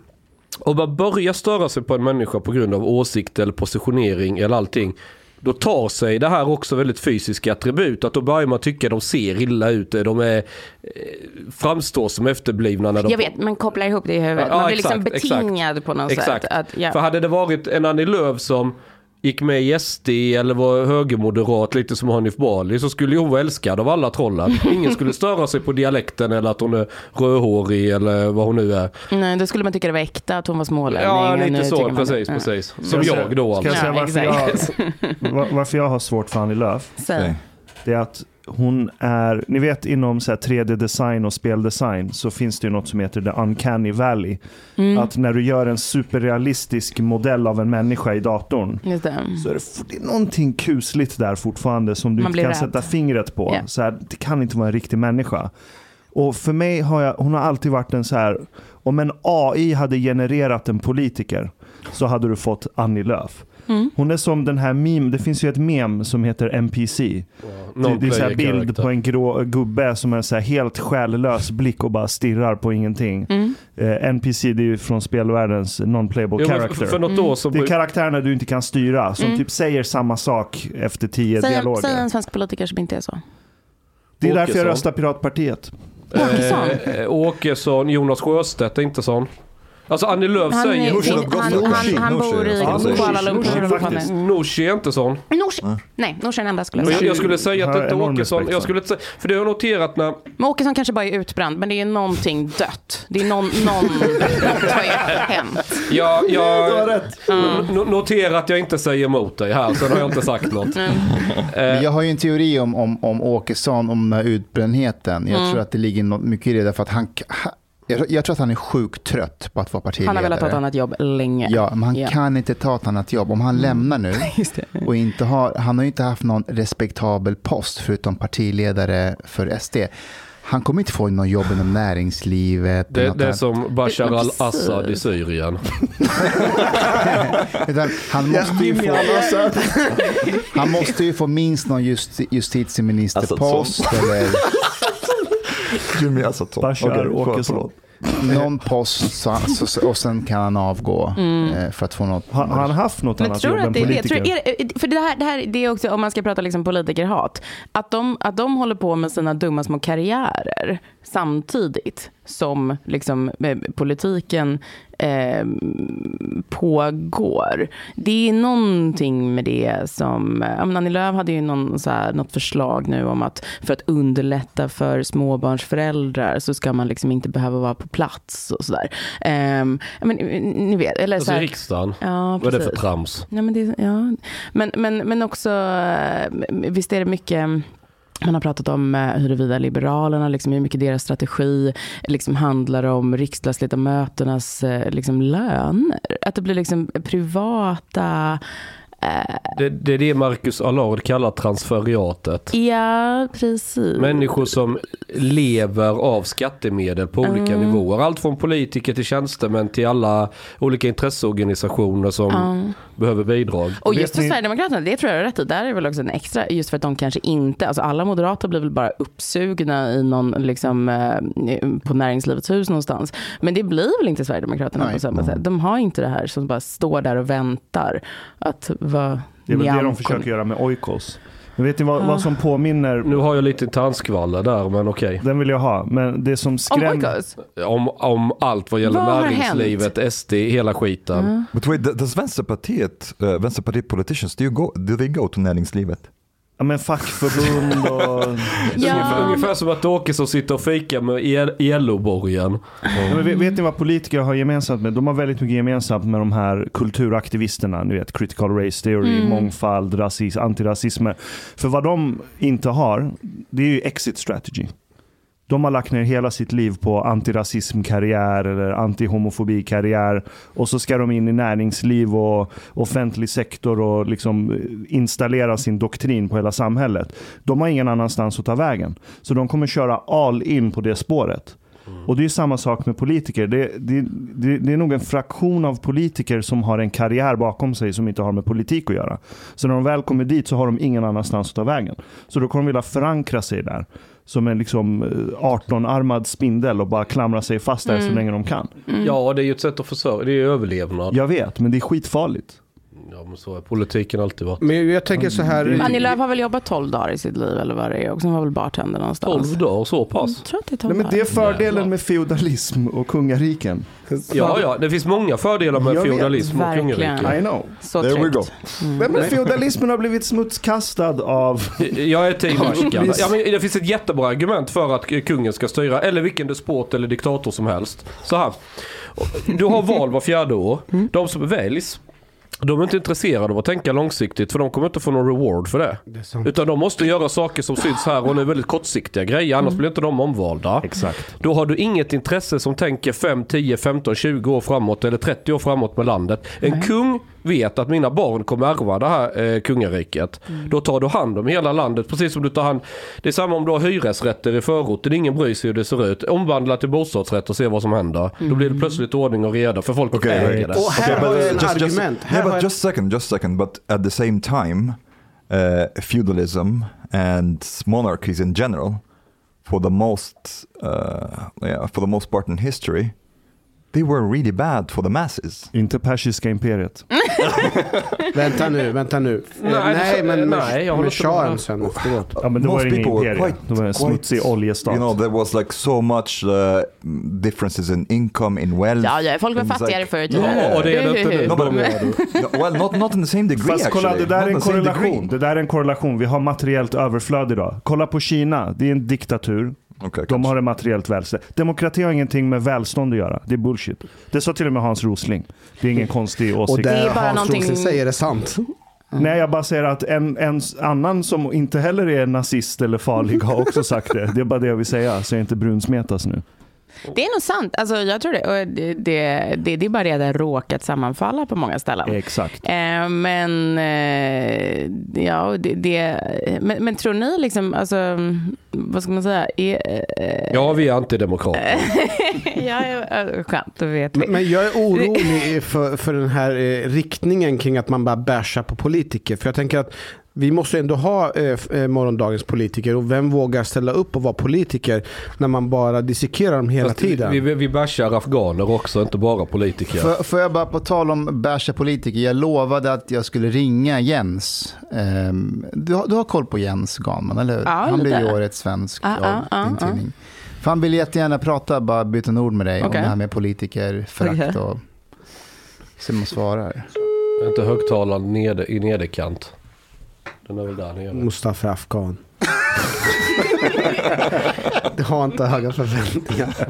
Om man börjar störa sig på en människa på grund av åsikt eller positionering eller allting. Då tar sig det här också väldigt fysiska attribut. Att då börjar man tycka de ser illa ut. De är, eh, framstår som efterblivna när de Jag vet, man kopplar ihop det i huvudet. Ja, Man blir exakt, liksom betingad exakt. på något Exakt. sätt. Att, ja. För hade det varit en Annie Lööf som gick med i SD eller var högermoderat lite som Hanif Bali så skulle ju hon vara älskad av alla trollen. Ingen skulle störa sig på dialekten eller att hon är rödhårig eller vad hon nu är. Nej, då skulle man tycka det var äkta att hon var smålänning. Ja, och nu lite tycker så. man- Precis, ja. precis. Ska Som jag säga- jag då Ska alltså. jag säga Ja, varför exakt. jag, va- varför jag har svårt för Annie Lööf? Säg. Okej. Det är att hon är, ni vet inom så här 3D-design och speldesign så finns det ju något som heter the uncanny valley. Mm. Att när du gör en superrealistisk modell av en människa i datorn Just det. så är det, f- det är någonting kusligt där fortfarande som du Man inte blir kan rädd. sätta fingret på. Ja. Så här, det kan inte vara en riktig människa. Och för mig har jag, hon har alltid varit en så här, om en AI hade genererat en politiker så hade du fått Annie Lööf. Hon är som den här meme, det finns ju ett meme som heter NPC. Det, det är så här bild på en grå gubbe som har en så här helt själlös blick och bara stirrar på ingenting. Eh, NPC det är ju från spelvärldens non-playable jo, men för, character. Mm. för något år så... det är karaktärerna du inte kan styra som typ säger samma sak efter tio Säg, dialoger. säg en svensk politiker som inte är så. Det är därför jag Åkesson. röstar Piratpartiet. Åkesson. Eh, eh, Åkesson, Jonas Sjöstedt är inte sån. Alltså Annie Lööf Han, säger... Nooshi han, han, han, Nooshi, han Nooshi, bor i ska man säga. Kuala Nooshi, Lumpur. Nooshi, faktiskt. Nooshi är inte sån. Nooshi. Nej, Nooshi är den enda skulle Och jag jag, säga. jag skulle säga att Har inte enorm Åkesson... respekt Jag för. skulle inte säga, för det har jag noterat när... Men Åkesson kanske bara är utbränd, men det är någonting dött. Det är någon, någon, något har ju hänt. Jag, Du har jag rätt. no- no- noterar att jag inte säger emot dig här, sen har jag inte sagt något. Men jag har ju en teori om, om, om Åkesson, om den här utbrändheten. Mm. Jag tror att det ligger något mycket i det, därför att han... han- Jag, jag tror att han är sjukt trött på att vara partiledare. Han har velat ta ett annat jobb länge. Ja, men han Ja. Mm. kan inte ta ett annat jobb. Om han lämnar nu Just det. och inte har, han har ju inte haft någon respektabel post förutom partiledare för SD. Han kommer inte få någon jobb inom näringslivet. eller Det, något det är annat. som Bashar Men precis. al-Assad i Syrien. Utan han, måste ju få, han måste ju få minst någon just, justitieministerpost eller Alltså, Jimmy Assatsson. Bashar Okej, för- Åkesson. förlåt. någon post så, så, så, och sen kan han avgå eh, för att få något. Har har han haft något Mm. Men annat tror jobb du än att det är det? politiker? Tror, är, det- för det här, det här det är också, om man ska prata liksom politikerhat, att de, att de håller på med sina dumma små karriärer samtidigt som liksom, eh, politiken eh, pågår. Det är någonting med det som, eh, ja, men Annie Lööf hade ju någon, så här, något förslag nu om att för att underlätta för småbarnsföräldrar så ska man liksom inte behöva vara på plats och sådär. Eh, men, ni vet, eller så Alltså i här, riksdagen. Ja, Vad är det för precis. trams? Nej, men, det, ja. men, men, men också, eh, visst är det mycket mm, man har pratat om eh, huruvida Liberalerna, liksom hur mycket deras strategi liksom handlar om riksdagsledamöternas eh, liksom löner. Att det blir liksom privata... eh, Det, det är det Marcus Allard kallar transferiatet. Ja, precis. Människor som lever av skattemedel på Ah. olika nivåer. Allt från politiker till tjänstemän till alla olika intresseorganisationer som behöver bidrag. Ah. Och Vet just för ni- Sverigedemokraterna, det tror jag är rätt i. Där är väl också en extra, just för att de kanske inte, alltså alla moderater blir väl bara uppsugna i någon, liksom, eh, på näringslivets hus någonstans. Men det blir väl inte Sverigedemokraterna Nej. på samma sätt. De har inte det här som bara står där och väntar att vara Det är väl det de Nyamko. försöker göra med Oikos. Men vet ni vad, Ah. vad som påminner? Nu har jag lite tandskvaller där men okej. Den vill jag ha, men det som Om skrämmer... Oikos? Om, om allt vad gäller Vad har Ah. näringslivet, SD, hela skiten. Um, But wait, th- does Vänsterpartiet, uh, Vänsterpartiet politicians, do, you go, do they go to näringslivet? Ja, men fackförbund och... Ungefär, Ja, ungefär som att Åkesson sitter och fikar med ILO-borgen. Ja, men vet, vet ni vad politiker har gemensamt med? De har väldigt mycket gemensamt med de här kulturaktivisterna. Ni vet, critical race theory, mångfald, rasism, antirasism. För vad de inte har, det är ju exit strategy. De har lagt ner hela sitt liv på antirasismkarriär eller antihomofobikarriär. Och så ska de in i näringsliv och offentlig sektor och liksom installera sin doktrin på hela samhället. De har ingen annanstans att ta vägen. Så de kommer köra all in på det spåret. Och det är ju samma sak med politiker. Det, det, det, det är nog en fraktion av politiker som har en karriär bakom sig som inte har med politik att göra. Så när de väl kommer dit så har de ingen annanstans att ta vägen. Så då kommer de vilja förankra sig där. Som en liksom eh, 18-armad spindel och bara klamra sig fast där så länge de kan. Ja, det är ju ett sätt att försörja, det är ju överlevnad. Jag vet, men det är skitfarligt. Ja, men så har politiken alltid varit. Men jag tänker så Mm. här. Annie Lööf har väl jobbat 12 dagar i sitt liv eller vad det är och sen var väl bartender någonstans. 12 dagar, så pass. Jag Mm, tror att det är 12 Nej, men det dagar. är fördelen med feodalism och kungariken. Ja, ja, det finns många fördelar med Jag vet, feodalism och verkligen. kungarike. I know. Så There we tryggt. Mm. go. Mm. Nej, men feodalismen har blivit smutskastad av... Jag är team Ashkan. ja, men Det finns ett jättebra argument för att kungen ska styra, eller vilken despot eller diktator som helst. Så här. Du har val var fjärde år. Mm. De som väljs, de är inte intresserade av att tänka långsiktigt för de kommer inte få någon reward för det. är sant. Utan de måste göra saker som syns här och nu väldigt kortsiktiga grejer, Mm. annars blir inte de omvalda. Exakt. Då har du inget intresse som tänker 5, 10, 15, 20 år framåt eller 30 år framåt med landet. En kung vet att mina barn kommer ärva det här eh, kungariket. Mm. Då tar du hand om hela landet. Precis som du tar hand. Det är samma om du har hyresrätter i förorten. Ingen bryr sig hur det ser ut. Omvandla till bostadsrätt och se vad som händer. Då blir det plötsligt ordning och reda för folk Okej. äger det. Mm. Och här har jag en argument. Just, Här har yeah, but jag- just second, just second. But at the same time, uh, feudalism and monarchies in general, for the most, uh, yeah, for the most part in history, they were really bad for the masses. Inte persiska imperiet. Vänta nu, vänta nu. Eh, Nej, Nej, det- men nej, jag håller med, med inte med. Shahen sen efteråt. Ja, men det Most var ingen people were imperie. quite- det var en quite- smutsig oljestat. You know, there was like so much uh, differences in income, in wealth. Ja, ja, folk var and it's fattigare like- förr i tiden. Ja, och det är det inte nu. No, Då but, menar du. no, well, not, not in the same degree Fast kolla, actually. det där, Not är en in the same korrelation. det degree. där är en korrelation. Vi har materiellt överflöd idag. Kolla på Kina, det är en diktatur. Okej, De kanske. har ett materiellt välstånd. Demokrati har ingenting med välstånd att göra. Det är bullshit. Det sa till och med Hans Rosling. Det är ingen konstig Mm. Och åsikt. Mm. det är Hans bara någonting- Rosling säger är sant. Nej, jag bara säger att en, en annan som inte heller är nazist eller farlig har också sagt det. Det är bara det jag vill säga, så jag inte brunsmetas nu. Det är nog sant. Alltså, jag tror det. Och det, det, det, det är bara det att det har råkat sammanfalla på många ställen. Exakt. Eh, men, eh, ja, och det, det, men, men tror ni liksom, alltså, mm, vad ska man säga? Är, eh, Ja, vi är antidemokrater. ja, ja, skönt, då vet vi. Men, men jag är orolig för, för den här eh, riktningen kring att man bara bashar på politiker. För jag tänker att vi måste ändå ha eh, f- eh, morgondagens politiker och vem vågar ställa upp och vara politiker när man bara dissekerar dem hela Fast tiden? Vi, vi, vi bashar afghaner också, inte bara politiker. Får, får jag bara på tal om bärsa politiker, jag lovade att jag skulle ringa Jens. Ehm, du, har, du har koll på Jens Ganman, eller hur? Ja, han blev ju lite. årets svensk Ja, av ja, ja, din ja. tidning. För han vill jättegärna prata, bara byta en ord med dig Okej. om det här med politikerförakt Okej. och... Se om han svarar. Inte högtalaren neder, i nederkant. Den är väl där nere. Mustafa Afghan. det har inte höga förväntningar.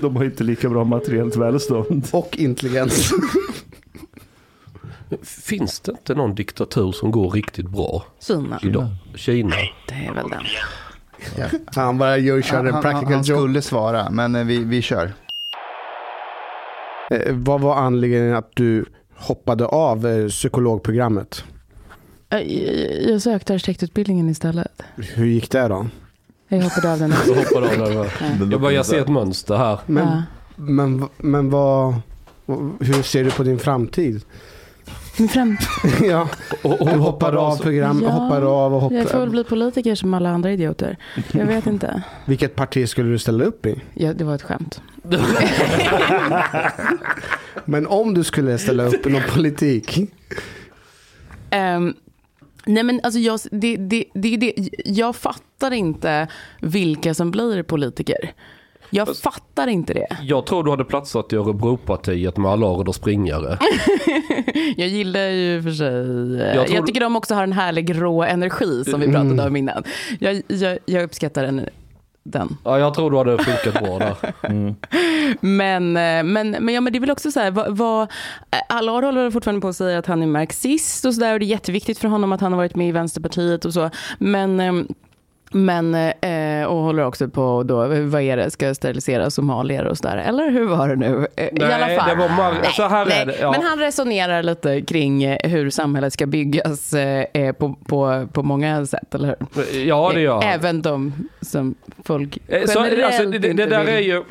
De har inte lika bra materiellt välstånd. Och intelligens. Finns det inte någon diktatur som går riktigt bra Kina. idag? Kina. Det är väl den. Han bara gör, kör Han, en han, han, practical han joke. skulle svara, men eh, vi, vi kör. Eh, Vad var anledningen att du hoppade av eh, psykologprogrammet? Jag, Eh, jag sökte arkitektutbildningen istället. Hur gick det då? Jag hoppade av den. Så hoppar av den här. Det Jag bara, låter jag ser ett mönster här. Men, Ja. men, v- men vad... Hur ser du på din framtid? Min fram- ja, Och, och du hoppar av program, Ja, hoppar av och jag får väl hoppar... bli politiker som alla andra idioter. Jag vet inte. Vilket parti skulle du ställa upp i? Ja, det var ett skämt. Men om du skulle ställa upp i någon politik? Ehm, nej men alltså jag, det, det, det, det, jag fattar inte vilka som blir politiker. Jag fattar inte det. Jag tror du hade platsat i Örebropartiet med Allard och springare. Jag gillar ju för sig... eh, Jag Jag, tror- Mm. tycker de också har en härlig grå energi som vi pratade om innan. Jag, jag, jag uppskattar den. den. Ja, jag tror du hade funkat bra där. Men, eh, men, men, ja, men det är väl också så här, vad, vad, Allard håller väl fortfarande på att säga att han är marxist och så där och det är jätteviktigt för honom att han har varit med i Vänsterpartiet och så. Men, ehm, men eh, och håller också på då, vad är det, ska sterilisera somalier och sådär, eller hur var det nu? Eh, I alla fall. det var mar- så här Nej, är det. Ja. Men han resonerar lite kring eh, hur samhället ska byggas eh, eh, på, på, på många sätt, eller hur? Eh, ja, det gör han. Även de som folk Eh, generellt Så, alltså, det, det, inte det där vill. är ju...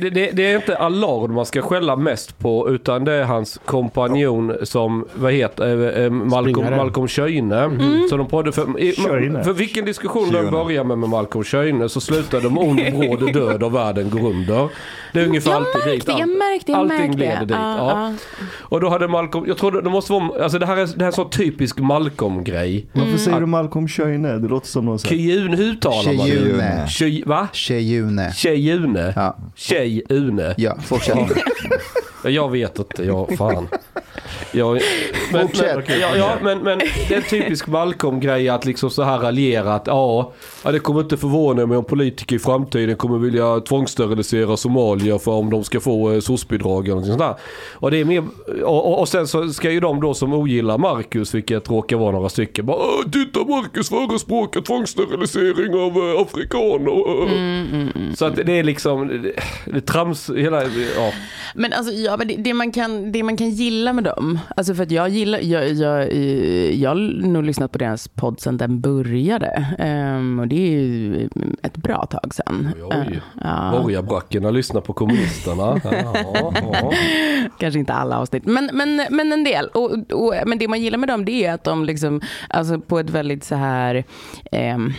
Det, det, det är inte Allard man ska skälla mest på utan det är hans kompanjon som, vad heter eh, eh, Malcolm, Springare. Malcolm Schöne. Som de poddade för, i, Schöne. för vilken diskussion de Schöne. börjar med med Malcolm Schöne så slutar de med ond bråd död och världen går under. Det är ungefär Jag alltid dit. märkte, jag märkte, jag Allting märkte. leder dit. Ja, ja. ja. Och då hade Malcolm, jag tror det, det måste vara, alltså det här är, det här är så typisk Malcolm-grej. Varför säger du Malcolm Schöne? Det låter som någon säger. Kyun, hur talar man det? alltså. Tjejune. Ky, va? Tjejune. Tjejune? Ja. Tjejune? Ja, fortsätt. Jag vet inte, jag fan. Jag, men, Fortsätt. men, ja, ja, men, men det är en typisk Malcolm-grej att liksom så här raljera att ja, ja, det kommer inte förvåna mig om politiker i framtiden kommer vilja tvångssterilisera somalier för om de ska få eh, soc-bidrag eller något sånt där. Och, det är mer, och, och, och sen så ska ju de då som ogillar Marcus, vilket råkar vara några stycken, bara "Åh, titta Marcus förespråkar tvångssterilisering av eh, Mm, afrikaner. Så att det är liksom, det, det trams, hela, ja. Men alltså, jag, Ja, men det, det, man kan, det man kan gilla med dem, alltså för att jag gillar, jag, jag, eh, jag har nog lyssnat på deras podd sedan den började. Ehm, och det är ju ett bra tag sedan. Eh, Oj, Ja. borgarbrackorna lyssnar på kommunisterna. Ja, ja. Kanske inte alla avsnitt, men, men, men en del. Och, och, men det man gillar med dem det är att de liksom, alltså på ett väldigt så här ehm,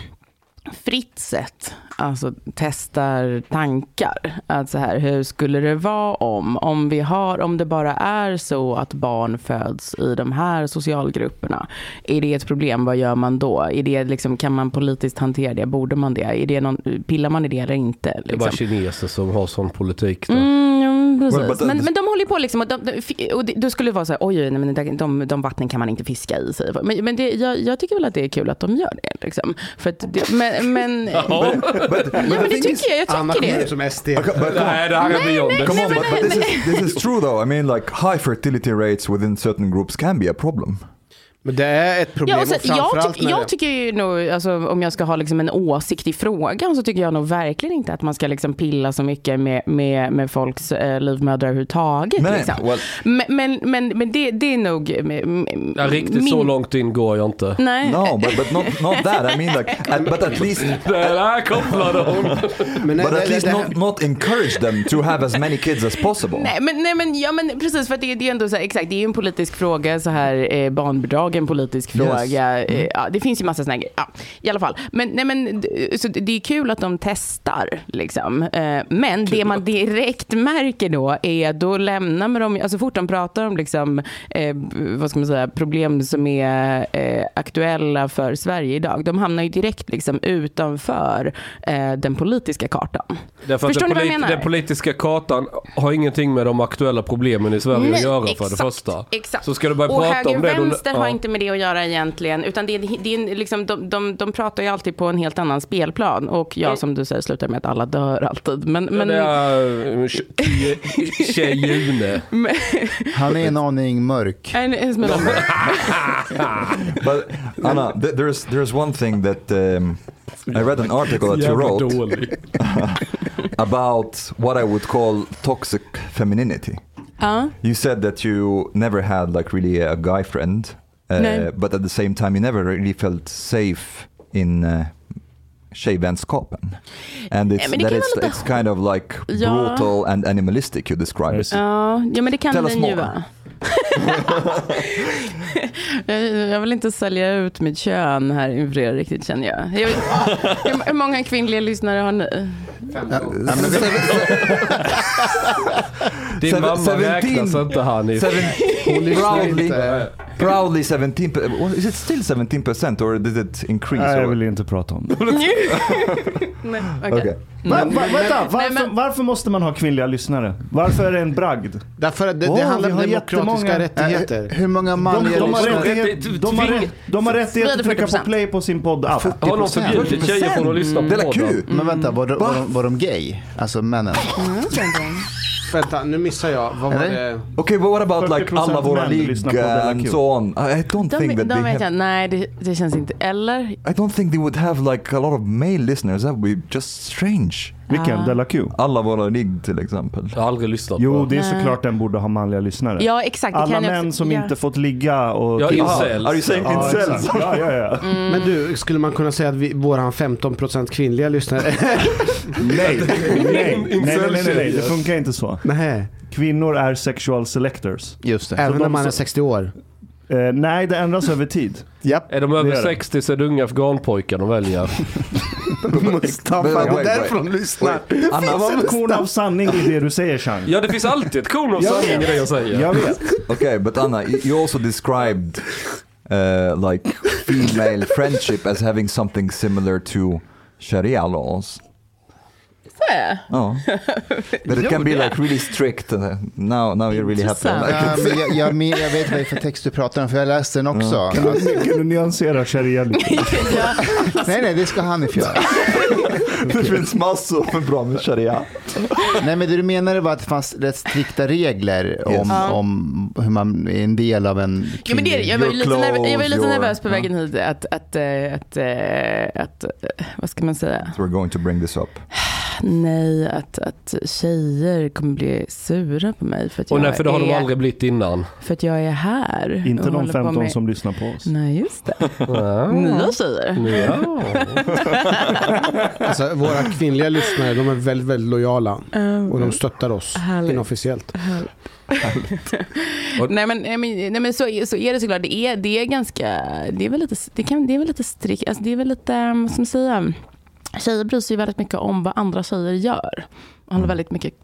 fritt sätt alltså, testar tankar. Att så här, hur skulle det vara om, om, vi har, om det bara är så att barn föds i de här socialgrupperna? Är det ett problem? Vad gör man då? Är det liksom, kan man politiskt hantera det? Borde man det? Är det någon, pillar man i det eller inte? Det är bara Liksom? kineser som har sån politik. Då. Mm, jo, precis. but that- men, men de håller ju på liksom och, de, de, fi- och det, då skulle det vara så här, oj, oj, nej, men det där- de, de vattnen kan man inte fiska i sig. Men, men det, jag, jag tycker väl att det är kul att de gör det. Liksom. För att det, men, men, ja, But, but men det tycker jag. Jag Anna tycker kommer det. ut som SD. Okay, but come on. Nej, det här är beyond Come on, det. but, but this, is, this is true though. I mean, like high fertility rates within certain groups can be a problem. Men det är ett problem. Ja, och och sen, jag, framförallt tyck, när jag det- tycker ju nog, alltså, om jag ska ha liksom en åsikt i frågan så tycker jag nog verkligen inte att man ska liksom pilla så mycket med, med, med folks eh, livmödrar överhuvudtaget. Men- liksom. well- men, men, men, men det, det är nog eh, m- m- Ja, riktigt så långt in går jag inte. Nej, No, but, but not not that. I mean, like, at, but at least Det där kopplade hon. Men but det- at det- least det- not not encourage them to have as many kids as possible. Nej men, nej men, ja men precis för att det, det är ändå så här, exakt, det är ju en politisk fråga så här, eh, barnbidrag är en politisk fråga. Mm. Eh, ja, det finns ju massa sådana grejer. Ja, I alla fall. Men, nej men, d- så det det är kul att de testar liksom. Eh, men det man direkt märker då är, då lämnar man dem, alltså fort de pratar om liksom, eh, b- vad ska man säga, problem som är eh, aktuella för Sverige idag, de hamnar ju direkt liksom utanför eh, den politiska kartan. Därför att Förstår den, ni vad jag polit- menar? den politiska kartan har ingenting med de aktuella problemen i Sverige att Nej, göra för det exakt, första. Exakt. Så ska du börja och prata om det. då- höger-vänster har ja. inte med det att göra egentligen. Utan det är, en- det är en- liksom, de, de, de pratar ju alltid på en helt annan spelplan. Och ja, som du säger, slutar med att alla dör alltid. Men, men, Mm. Det är eh, tje- Tjejune. Han är en aning mörk. En- en smula- But Anna, th- there's there's one thing that um, I read an article that you Jävla wrote dålig. about what I would call toxic femininity. Ja. You said that you never had like really a guy friend, uh, Nej. but at the same time you never really felt safe in uh, tjejvänskapen. And it's, men det that kan it's, man låta- it's kind of like Ja. brutal and animalistic you describe it. Ja, ja, men det kan Tell us den ju more. vara. jag, jag vill inte sälja ut mitt kön här inför er riktigt känner jag. jag vill, hur, hur många kvinnliga lyssnare har ni? Din Seven- mamma räknas seventeen. inte Hanif. Seven, proudly, inte. proudly 17 per- well, Is it still 17 percent or did it increase? Nej, jag or- vill inte prata om det. Nej, Okay. okej. Va, va, vänta, varför, men- varför måste man ha kvinnliga lyssnare? Varför är det en bragd? Därför att det, Åh, det vi handlar om har demokratiska jättemånga- Äh, rättigheter. hur många De, manliga de, har, lyssnare? rättighet, de, har, rätt- de har rättighet att trycka på play på sin podd app. Har någon förbjudit tjejer från att lyssna på Det är podden? kul! Men vänta, var, de- var, Mm. de, var de gay? Alltså männen? Vänta, nu missar jag. Vad var Eller? det? Okej, but what about like 40% alla våra män lyssnar på liga Della and Q. so on? I I don't De, think that de they vet jag, have, nej det, det känns inte, eller? I don't think they would have like a lot of male listeners. That would be just strange. Vilken? Ah. Della Q? Alla våra ligg till exempel. Jag har aldrig lyssnat på Jo, den. det är såklart den borde ha manliga lyssnare. Ja exakt. det Alla kan jag män också- som ja. inte fått ligga och... Ja, Ja, incels. Are you saying ja, incels? exakt. ja, ja, ja. Men du, skulle man kunna säga att vi, våran 15% kvinnliga lyssnare... Nej. Nej. nej, nej, nej, nej, det Incels-tjejer. funkar inte så. Nej, Kvinnor är sexual selectors. Just det. även de när man som- är 60 år. Eh, nej, det ändras över tid. Japp. Är de Det över är det. 60 så är det unga afghanpojkar de väljer. Mustafa, Wait, det wait, är därför wait. de lyssnar. Det Anna, var ett korn av sanning i det du säger, Chang. Ja, det finns alltid ett korn av sanning i det jag säger. Jag vet. okay, but Anna, you you also described uh, like female friendship as having something similar to Sharia laws. Oh, but it can be like really strict. and, uh, Now, now you really have to. Intressant. Ja, Like, men jag, jag, men jag vet vad det är för text du pratar om, för jag läste den också. Att- Kan du nyansera sharia lite? Nej, nej, det ska Hanif göra. det finns massor med bra med Sharia. Nej, men det du menade var att det fanns rätt strikta regler om, Yes. om hur man är en del av en Jo, men det, är det. jag, var ju Your lite nervös, jag var ju lite clothes, your- nervös på Ja. vägen hit att, att, eh, att, eh, att, eh, vad ska man säga? So we're going to bring this up. nej, att, att tjejer kommer bli sura på mig för att, Och jag, nej, för det har är, de aldrig blivit innan. för att jag är här. Inte och de håller på 15 med- som lyssnar på oss. Nej, just det. Ja. Nya tjejer. Ja. Alltså, våra kvinnliga lyssnare de är väldigt, väldigt lojala Um, och de stöttar oss Härligt. inofficiellt. Nej men, nej, men, nej, men så, är- så är det såklart. Det är, det är ganska, det är väl lite, det kan, det är väl lite strikt, alltså, det är väl lite, ehm, vad ska man säga, tjejer bryr sig ju väldigt mycket om vad andra tjejer gör. Och Mm. håller väldigt mycket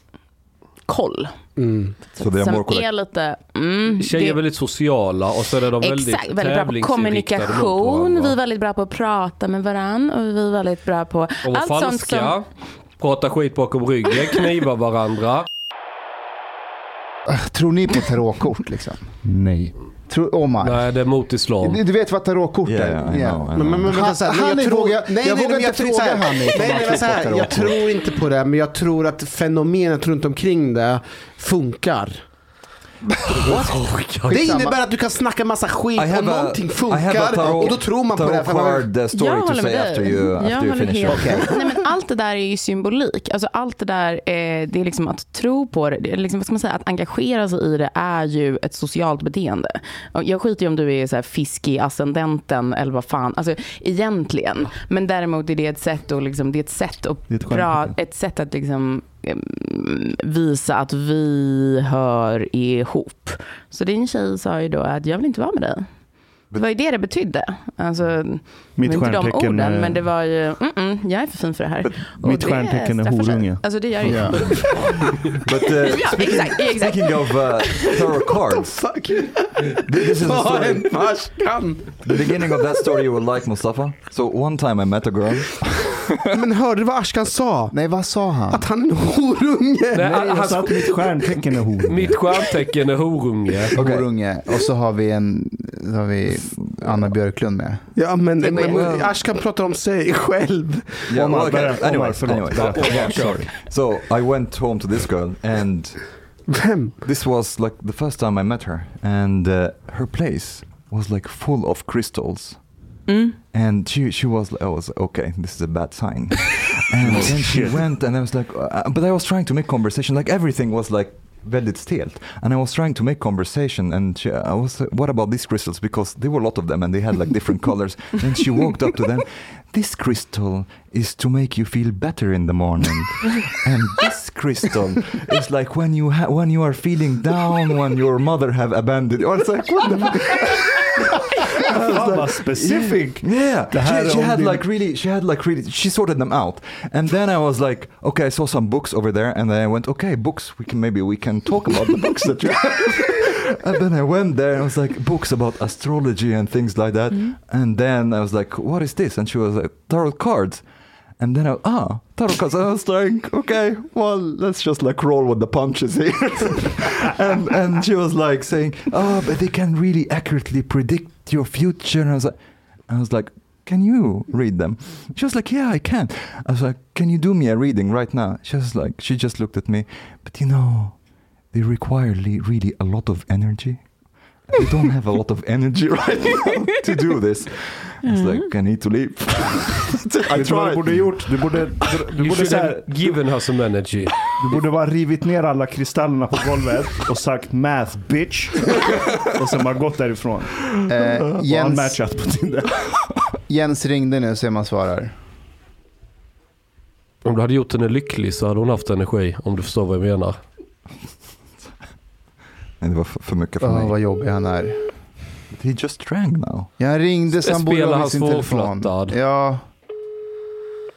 koll. Mm. Så det är som målkorrekt. är lite, mm, Tjejer är det- väldigt sociala och så är de väldigt Exakt, väldigt bra på tävlingsinriktade mot kommunikation, varandra. vi är väldigt bra på att prata med varandra och vi är väldigt bra på De var allt sånt falska, som... pratar skit bakom ryggen, knivar varandra. Ah, Tror ni på tarotkort liksom? Nej. Tror, oh my. Nej, det är mot islam. Du, du vet vad tarotkort Yeah, är? yeah, I know, I know. Men, men, men vänta, så här, Han- han jag är tror- vågar- nej, jag nej, vågar men inte tror- så här, fråga han i- nej, nej, men så här, Tarotkort. Jag tror inte på det, men jag tror att fenomenet runt omkring det funkar. Det Skitsamma. innebär att du kan snacka massa skit I om have a- någonting I have a funkar tarot- och då tror man på det. här, För tarot man, card uh, story to say after you, jag after you håller finish helt. it. Nej, men allt det där är ju symbolik. Alltså, allt det där, eh, det är liksom att tro på det. det är liksom, vad ska man säga, att engagera sig i det är ju ett socialt beteende. Och jag skiter ju om du är så här fisk i ascendenten eller vad fan. Alltså, egentligen. Men däremot är det ett sätt att, liksom, det är ett sätt att, Det är ett bra, skämt. ett sätt att liksom, eh, visa att vi hör ihop. Så din tjej sa ju då att jag vill inte vara med dig. Det var ju det det betydde. Alltså, Mitt inte de stjärntecken, orden, eh, men det var ju, mm -mm, jag är för fin för det här. Och mitt det stjärntecken är straffar sig. horunge. Alltså det gör ju. Ja. But uh, Ja, exakt, exakt. speaking of uh, tarot cards, fuck? th- this is a Vad story. en farskan? The beginning of that story you will like, Mustafa. So one time I met a girl. Men hörde du vad Ashkan sa? Nej, vad sa han? Att han är en horunge. Nej, Nej, jag hans- sa att mitt stjärntecken är horunge. Mitt stjärntecken är horunge. Okej. Horunge. Och så har vi, en, så har vi Anna Björklund med. Ja, men, men, men- Ashkan pratar om sig själv. Yeah, Omar, well, okay. berätta, Omar, Anyways, förlåt, anyways. berätta. Yeah, sorry. So I went home to this girl, and Vem? this was like the first time I met her, and uh, her place was like full of crystals. Mm. And she she was I was like, okay, this is a bad sign. and then she went, and I was like, uh, but I was trying to make conversation. Like everything was like väldigt stelt, and I was trying to make conversation. And she, uh, I was, like, what about these crystals? Because there were a lot of them, and they had like different colors. And she walked up to them. This crystal is to make you feel better in the morning, and this crystal is like when you ha- when you are feeling down, when your mother have abandoned. you. I was like, what the fuck? Fan vad specific. Yeah, The she, hat she on had the- like really, she had like really, she sorted them out, and then I was like, okay, I saw some books over there, and then I went, okay, books, we can maybe we can talk about the books that you. have. and then I went there and I was like, books about astrology and things like that, and then I was like, what is this? And she was like, tarot cards. And then I, ah, tarot cards. And I was like, okay, well, let's just like roll with the punches here. and, and she was like saying, oh, but they can really accurately predict your future. And I was like, I was like, can you read them? She was like, yeah, I can. I was like, can you do me a reading right now? She was like, she just looked at me, but you know, they require le- really a lot of energy. I don't have a lot of energy right now to do this. I was like, I need to leave. I Vet du vad du tried. borde gjort? Du borde, du, You borde, så should här, have given her some energy. du borde bara rivit ner alla kristallerna på golvet och sagt math bitch. Och sen bara gått därifrån. Eh, Och Jens, unmatchat på Tinder. Jens ringde nu, se om han svarar. Om du hade gjort henne lycklig så hade hon haft energi, om du förstår vad jag menar. Nej, det var för, för mycket för Oh, mig. vad jobbig han är. He just drank now. Jag ringde så han borde Spelar ha han med sin telefon. svårflörtad? Ja.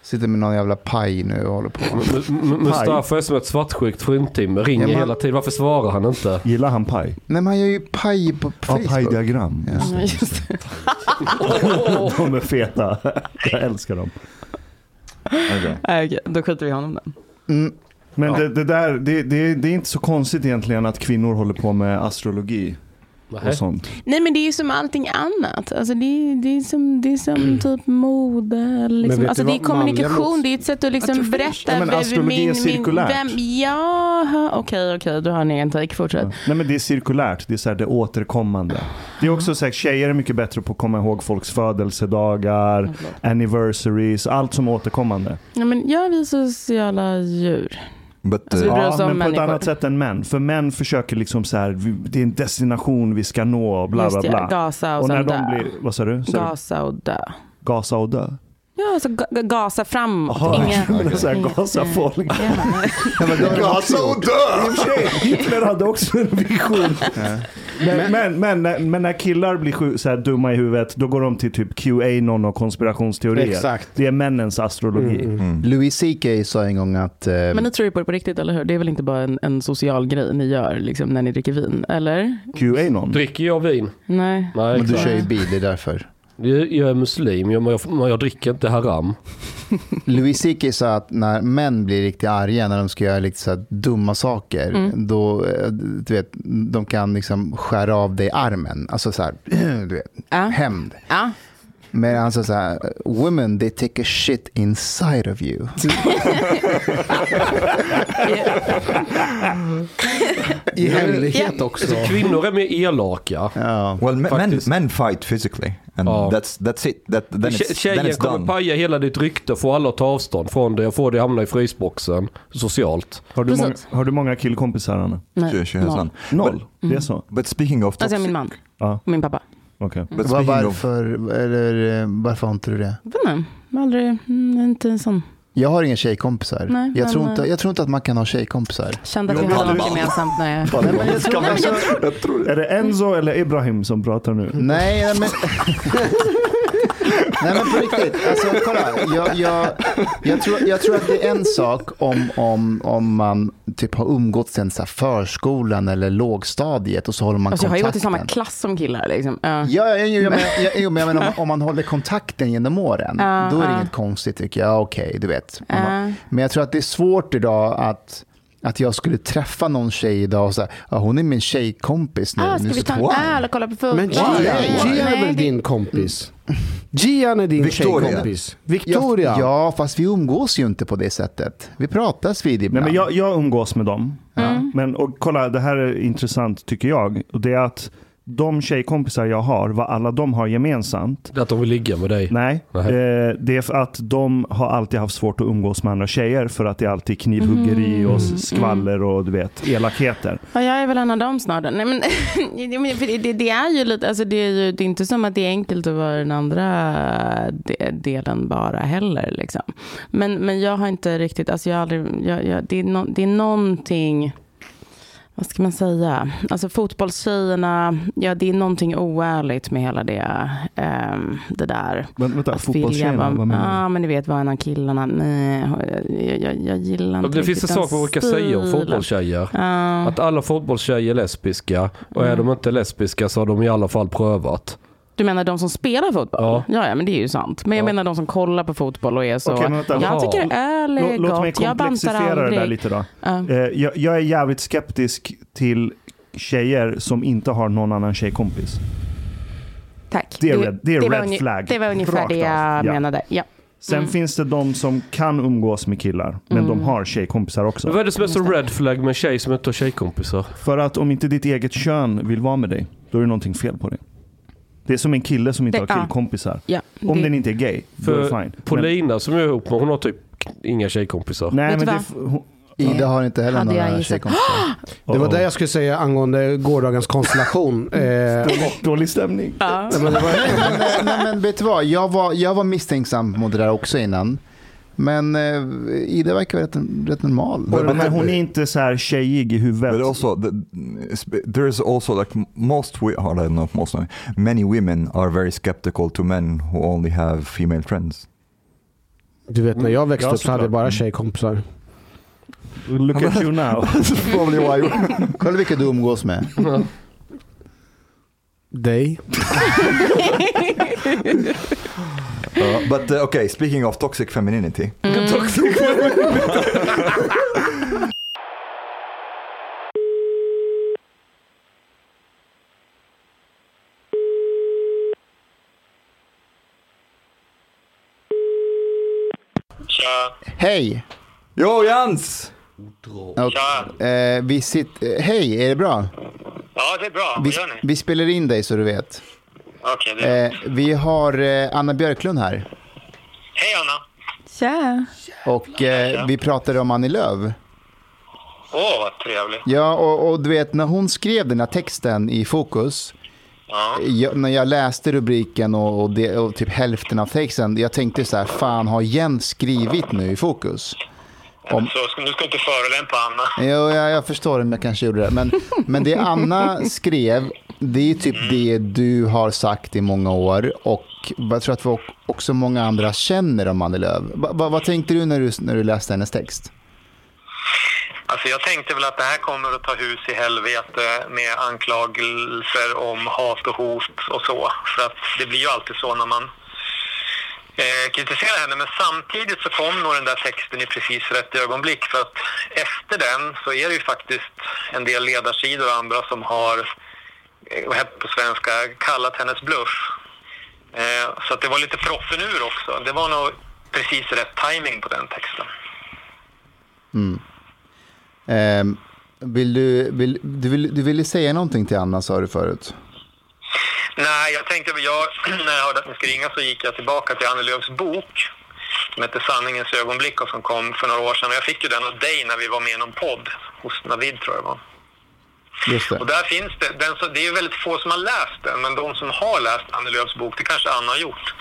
Sitter med någon jävla paj nu och håller på. M- M- Mustafa är som ett svartsjukt fruntimmer, ringer Ja, men- hela tiden. Varför svarar han inte? Gillar han paj? Nej men han gör ju paj på Ja, Facebook. pajdiagram. Ja, just det. De är feta. Jag älskar dem. Okay. Nej, okej, då skiter vi i honom då. Mm. Men det, det där, det, det, det är inte så konstigt egentligen att kvinnor håller på med astrologi. Nähä. och sånt. Nej men det är ju som allting annat. Alltså det, är, det är som, det är som typ mode. Liksom. vet Alltså du det är vad? Manliga kommunikation. mot- Det är ett sätt att liksom berätta. Ja, men vem- astrologi är cirkulärt. jaha, okej, okej. Du har en egen take. Fortsätt. Nej men det är cirkulärt, det är så här det återkommande. Det är också så här, tjejer är mycket bättre på att komma ihåg folks födelsedagar, anniversaries, allt som är återkommande. Ja, men ja, vi är sociala djur. But, Alltså, vi eh, bryr oss Ja, om men på ett människor. annat sätt än män. För män försöker liksom så här, vi- det är en destination vi ska nå, och bla Just bla det, bla. Gasa och, Och när sen de dö. blir, vad sa du? Sa du? Gasa och dö. Gasa och dö. Ja, alltså ga- ga- gasa framåt. Jaha, Inga, jag menar så här, inga- gasa folk. Ja. Gasa och dö! I och för sig, Hitler hade också en vision. Men, men, men, när- men när killar blir sju, så här dumma i huvudet, då går de till typ QAnon och konspirationsteorier. Exakt. Det är männens astrologi. Mm, Mm. Louis CK sa en gång att... eh, Men ni tror ju på det på riktigt, eller hur? Det är väl inte bara en, en social grej ni gör liksom, när ni dricker vin, eller? QAnon. Dricker jag vin? Nej. Nej, men du exakt. kör ju bil, det är därför. Jag, jag är muslim, jag, men jag, men jag dricker inte haram. Louis CK sa att när män blir riktigt arga när de ska göra lite så här dumma saker, Mm. då eh, du vet, de kan liksom skära av dig armen. Alltså så här, du vet, Ja. hämnd. Ja. Men han sa så här, women they take a shit inside of you. I hemlighet också. Kvinnor är mer elaka. Well, men, men, Faktiskt. men fight physically. And Ja. that's, that's it. That, then Tje- it's, then Tjejer it's kommer done. paja hela ditt rykte, få alla att ta avstånd från det och få dig att hamna i frysboxen socialt. Har, du många, Precis. har du många killkompisar Anna? Nej. She, she has noll. none. Noll? Mm. Det är så? But speaking of Alltså jag toxic, är min man Ja, och min pappa. Mm. okej. but Var, speaking of, varför, eller, eh, varför har inte du det? Jag vet inte, jag har aldrig, mm, inte en sån. Jag har inga tjejkompisar. Nej, jag, men, tror inte, eh, jag tror inte att man kan ha tjejkompisar. Kände att Jo, vi men hade du- något gemensamt när jag... Fan, Nej, men jag tror, nej, men jag tror, Är det Enzo eller Ibrahim som pratar nu? Nej, nej, men... Nej men på riktigt, alltså, kolla. Jag, jag, jag, tror, jag tror att det är en sak om, om, om man typ har umgåtts sen så här förskolan eller lågstadiet och så håller man alltså, jag har ju gått i kontakten. samma klass som killar. Liksom. Ja. Ja, ja, jo, jo, men, ja, jo, men jag menar, om, om man håller kontakten genom åren, Ja, då är det ja. inget konstigt tycker jag. Ja, Okej, du vet. Om Ja. Man, men jag tror att det är svårt idag att, att jag skulle träffa någon tjej idag och säga ja, hon är min tjejkompis nu. Ah, nu ska vi ta wow. en öl och kolla på fotboll? Men Gian, Nej, Gian är nej, väl det- din kompis? Gian är din Victoria. tjejkompis. jag, Victoria. ja, fast vi umgås ju inte på det sättet. Vi pratas vid Nej, ibland. men jag, jag umgås med dem. Men och kolla, det här är intressant tycker jag. Och det är att de tjejkompisar jag har, vad alla de har gemensamt. Att de vill ligga med dig. Nej, Nej. eh, det är för att de har alltid haft svårt att umgås med andra tjejer för att det är alltid knivhuggeri och skvaller och du vet, elakheter. Ja, jag är väl en av dem snart. då. Nej, men, jo, men för det, det, det är ju lite, alltså det är ju det är inte som att det är enkelt att vara den andra de, delen bara heller. Liksom. Men, men jag har inte riktigt, alltså jag har aldrig, jag, jag, det, är no, det är någonting, vad ska man säga, alltså fotbollstjejerna, ja det är någonting oärligt med hela det, ehm, det där. Men, vänta, fotbollstjejerna, vad menar Ja, du? men du vet, vara en av killarna, nej, jag, jag, jag gillar inte Det finns en riktigt sak den man brukar säga om stilen. fotbollstjejer. Ja. Mm. Att alla fotbollstjejer är lesbiska och är de inte lesbiska så har de i alla fall prövat. Du menar de som spelar fotboll? Ja. Ja, ja, men det är ju sant. Men jag Ja. menar de som kollar på fotboll och är så. Okej, men vänta. jag tycker öl är Låt, låt mig gott, jag bantar komplexifiera det aldrig. där lite då. Ja. Eh, jag, jag är jävligt skeptisk till tjejer som inte har någon annan tjejkompis. Tack. Det är red- det är var red unge- flag. Det var ungefär Rakt det av. Ja. jag menade. Ja. Mm. Sen finns det de som kan umgås med killar, men de har tjejkompisar också. Men vad är det som är så red flag med en tjej som inte har tjejkompisar? För att om inte ditt eget kön vill vara med dig, då är det någonting fel på dig. Det är som en kille som inte Det- har ja. killkompisar. Ja, Om det- den inte är gay, då är det För fine. Paulina Eh, som jag är ihop med, hon har typ inga tjejkompisar. Men, nej, Vet men du det, vad? f- hon, Ida har inte heller Hade jag några gissat. tjejkompisar. Det var Oh. det jag skulle säga angående gårdagens konstellation. Eh, dålig, dålig stämning. Ja. men det var, nej, nej, men vet du vad? Jag var, jag var misstänksam mot det där också innan. Men eh, Ida verkar rätt, rätt normal. But- Men hon är inte så här tjejig i but huvudet. also the, sp- there is also like m- most we or I don't know if most uh, many women are very skeptical to men who only have female friends. du vet när jag växte Ja, upp så hade jag såklart. bara tjejkompisar. Look at you now. That's probably why. we- Kolla vilka du umgås med. Dig. Uh, but uh, okay, speaking of toxic femininity, Hej! Jo, Jans! Och, eh, vi sitt, eh, hej, är det bra? Ja, det är bra. Vi, Vad gör ni? vi spelar in dig så du vet. Okej, det är... Eh, vi har eh, Anna Björklund här. Hej Anna! Tja. Och eh, vi pratade om Annie Lööf. Åh, vad trevligt. Ja, och, och du vet när hon skrev den här texten i Fokus. Ja. Jag, när jag läste rubriken och, och, det, och typ hälften av texten. Jag tänkte så här, fan har Jens skrivit nu i Fokus? Om- Så ska, nu ska inte förolämpa Anna. Jo, jag, jag förstår om jag kanske gjorde det. Men, men det Anna skrev, det är ju typ Mm. det du har sagt i många år. Och jag tror att vi ock- också många andra känner om Annie Lööf. Va, va, vad tänkte du när, du när du läste hennes text? Alltså jag tänkte väl att det här kommer att ta hus i helvete med anklagelser om hat och hot och så. För att det blir ju alltid så när man eh, kritiserar henne. Men samtidigt så kom nog den där texten i precis rätt ögonblick. För att efter den så är det ju faktiskt en del ledarsidor och andra som har, eh, vad heter det på svenska, kallat hennes bluff. Eh, så att det var lite proffen ur också. Det var nog precis rätt timing på den texten. Mm. Ehm, vill du, vill, du, vill, du ville säga någonting till Anna sa du förut. Nej, jag tänkte, jag, när jag hörde att ni skulle ringa så gick jag tillbaka till Annie Lööfs bok som hette Sanningens ögonblick och som kom för några år sedan. Och jag fick ju den av dig när vi var med i någon podd hos Navid tror jag det var. Just det. Och där finns det, den, så, det är ju väldigt få som har läst den, men de som har läst Annie Lööfs bok, det kanske Anna har gjort,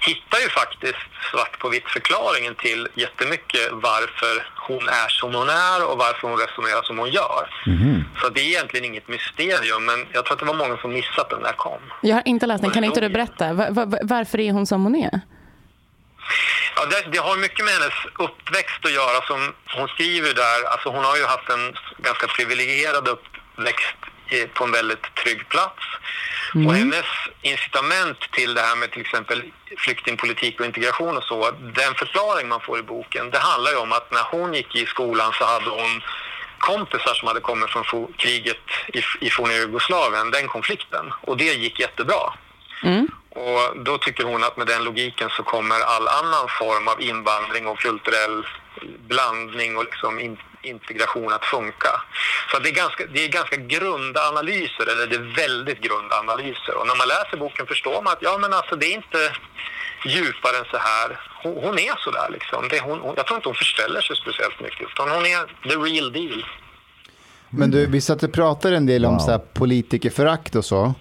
hittar ju faktiskt svart på vitt förklaringen till jättemycket varför hon är som hon är och varför hon resonerar som hon gör. Så det är egentligen inget mysterium, men jag tror att det var många som missat att den när den kom. Jag har inte läst den. Kan inte du berätta? Va- va- va- varför är hon som hon är? Ja, det, det har mycket med hennes uppväxt att göra. Som hon skriver där, alltså hon har ju haft en ganska privilegierad uppväxt i- på en väldigt trygg plats. Och hennes incitament till det här med till exempel flyktingpolitik och integration och så, den förklaring man får i boken, det handlar ju om att när hon gick i skolan så hade hon kompisar som hade kommit från fo- kriget i, i forna Jugoslavien, den konflikten. Och det gick jättebra. Och då tycker hon att med den logiken så kommer all annan form av invandring och kulturell blandning och liksom in, integration att funka. Så att det, är ganska, det är ganska grunda analyser, eller det är väldigt grunda analyser. Och när man läser boken förstår man att ja, men alltså det är inte djupare än så här. Hon, hon är så där liksom. Det, hon, hon, jag tror inte hon förställer sig speciellt mycket, utan hon är the real deal. Men du, vi satt och pratade en del om så här politikerförakt och så.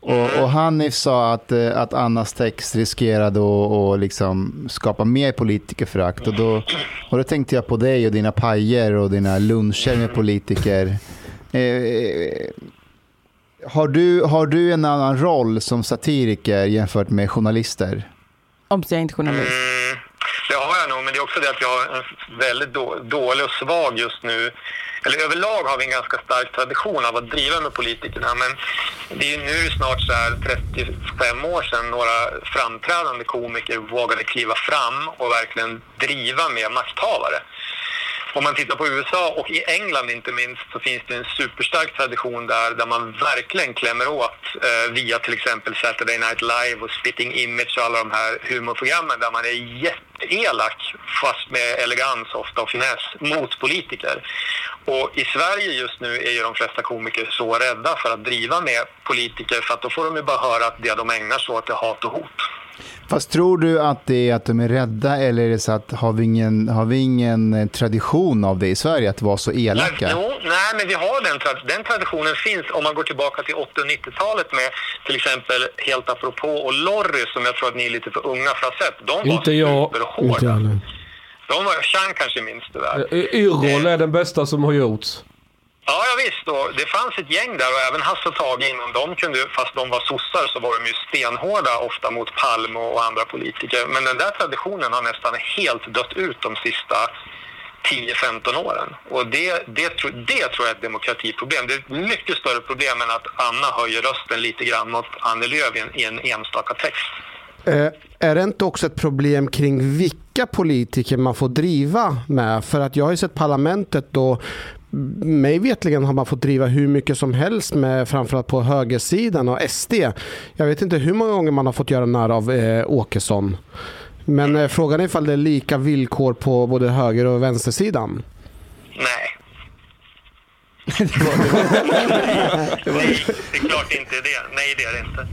Och, och Hanif sa att, eh, att Annas text riskerade att att liksom skapa mer politikerförakt. Och då, och då tänkte jag på dig och dina pajer och dina luncher med politiker. Eh, eh, har, du, har du en annan roll som satiriker jämfört med journalister? Om jag är inte journalist. Mm, det har jag nog, men det är också det att jag är en väldigt då, dålig och svag just nu. Eller överlag har vi en ganska stark tradition av att driva med politikerna, men det är ju nu snart så här 35 år sedan några framträdande komiker vågade kliva fram och verkligen driva med makthavare. Om man tittar på USA och i England inte minst så finns det en superstark tradition där, där man verkligen klämmer åt eh, via till exempel Saturday Night Live och Spitting Image och alla de här humorprogrammen där man är jätteelak fast med elegans ofta och finess mot politiker. Och i Sverige just nu är ju de flesta komiker så rädda för att driva med politiker för att då får de ju bara höra att det de ägnar sig åt är hat och hot. Fast tror du att det är att de är rädda eller är det så att har vi ingen, har vi ingen eh, tradition av det i Sverige att vara så elaka? Nej, jo, nej, men vi har den, tra- den traditionen finns om man går tillbaka till 80 och 90-talet med till exempel Helt apropå och Lorry som jag tror att ni är lite för unga för att ha sett. De var Inte jag. superhårda. de var, Chang kanske minns det där. Eh, Yrrol är den bästa som har gjorts. Ja, ja visst. Och det fanns ett gäng där och även Hasse och Tage innan de kunde, fast de var sossar så var de ju stenhårda ofta mot Palme och andra politiker. Men den där traditionen har nästan helt dött ut de sista 10-15 åren. Och det, det, tro, det tror jag är ett demokratiproblem. Det är ett mycket större problem än att Anna höjer rösten lite grann mot Annie Lööf i en, i en enstaka text. Eh, är det inte också ett problem kring vilka politiker man får driva med? För att jag har ju sett parlamentet och mig vetligen har man fått driva hur mycket som helst med framförallt på högersidan och SD. Jag vet inte hur många gånger man har fått göra när av eh, Åkesson. Men eh, frågan är ifall det är lika villkor på både höger och vänstersidan. Nej. Nej, det är klart inte det. Nej, det är det inte.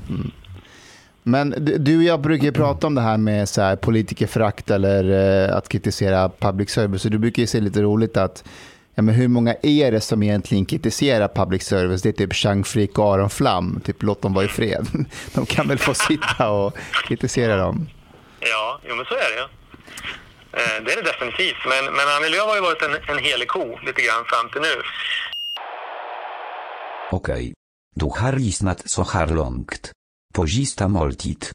Men du- du och jag brukar ju prata om det här med så här politikerförakt eller eh, att kritisera public service. Så du brukar ju se lite roligt att ja, men hur många är det som egentligen kritiserar public service? Det är typ Chang Frick och Aron Flam. Typ låt dem vara i fred. De kan väl få sitta och kritisera dem. Ja, jo, men så är det ju. Eh, Det är det definitivt. Men, men Annie Lööf har ju varit en, en helig ko lite grann fram till nu. Okej. Du har lyssnat så här långt. På sista måltid.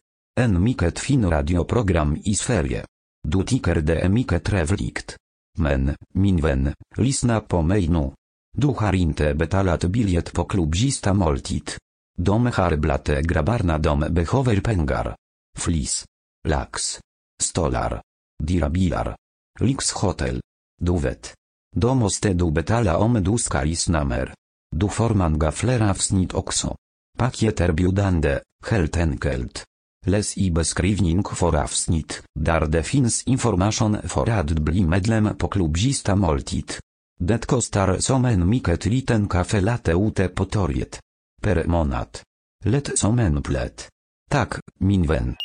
En mycket fin radioprogram i Sverige. Du tycker det är mycket trevligt. Men, min vän, lyssna på mig nu. Du har inte betalat bilet på klubb sista måltid. De har blate grabarna de behöver pengar. Flis. Lax. Stolar. Dirabilar. Lix hotel. Du vet. De måste du betala om du ska lyssna mer. Du forman gaflera wsnit okso. Pakiet erbjudande, helt enkelt. Les i beskrivning for avsnit, dar defins information for adbli medlem po klubzista moltit. Detko star somen miket liten kafe late ute potoriet. Per monat. Let somen plet. Tak, minwen.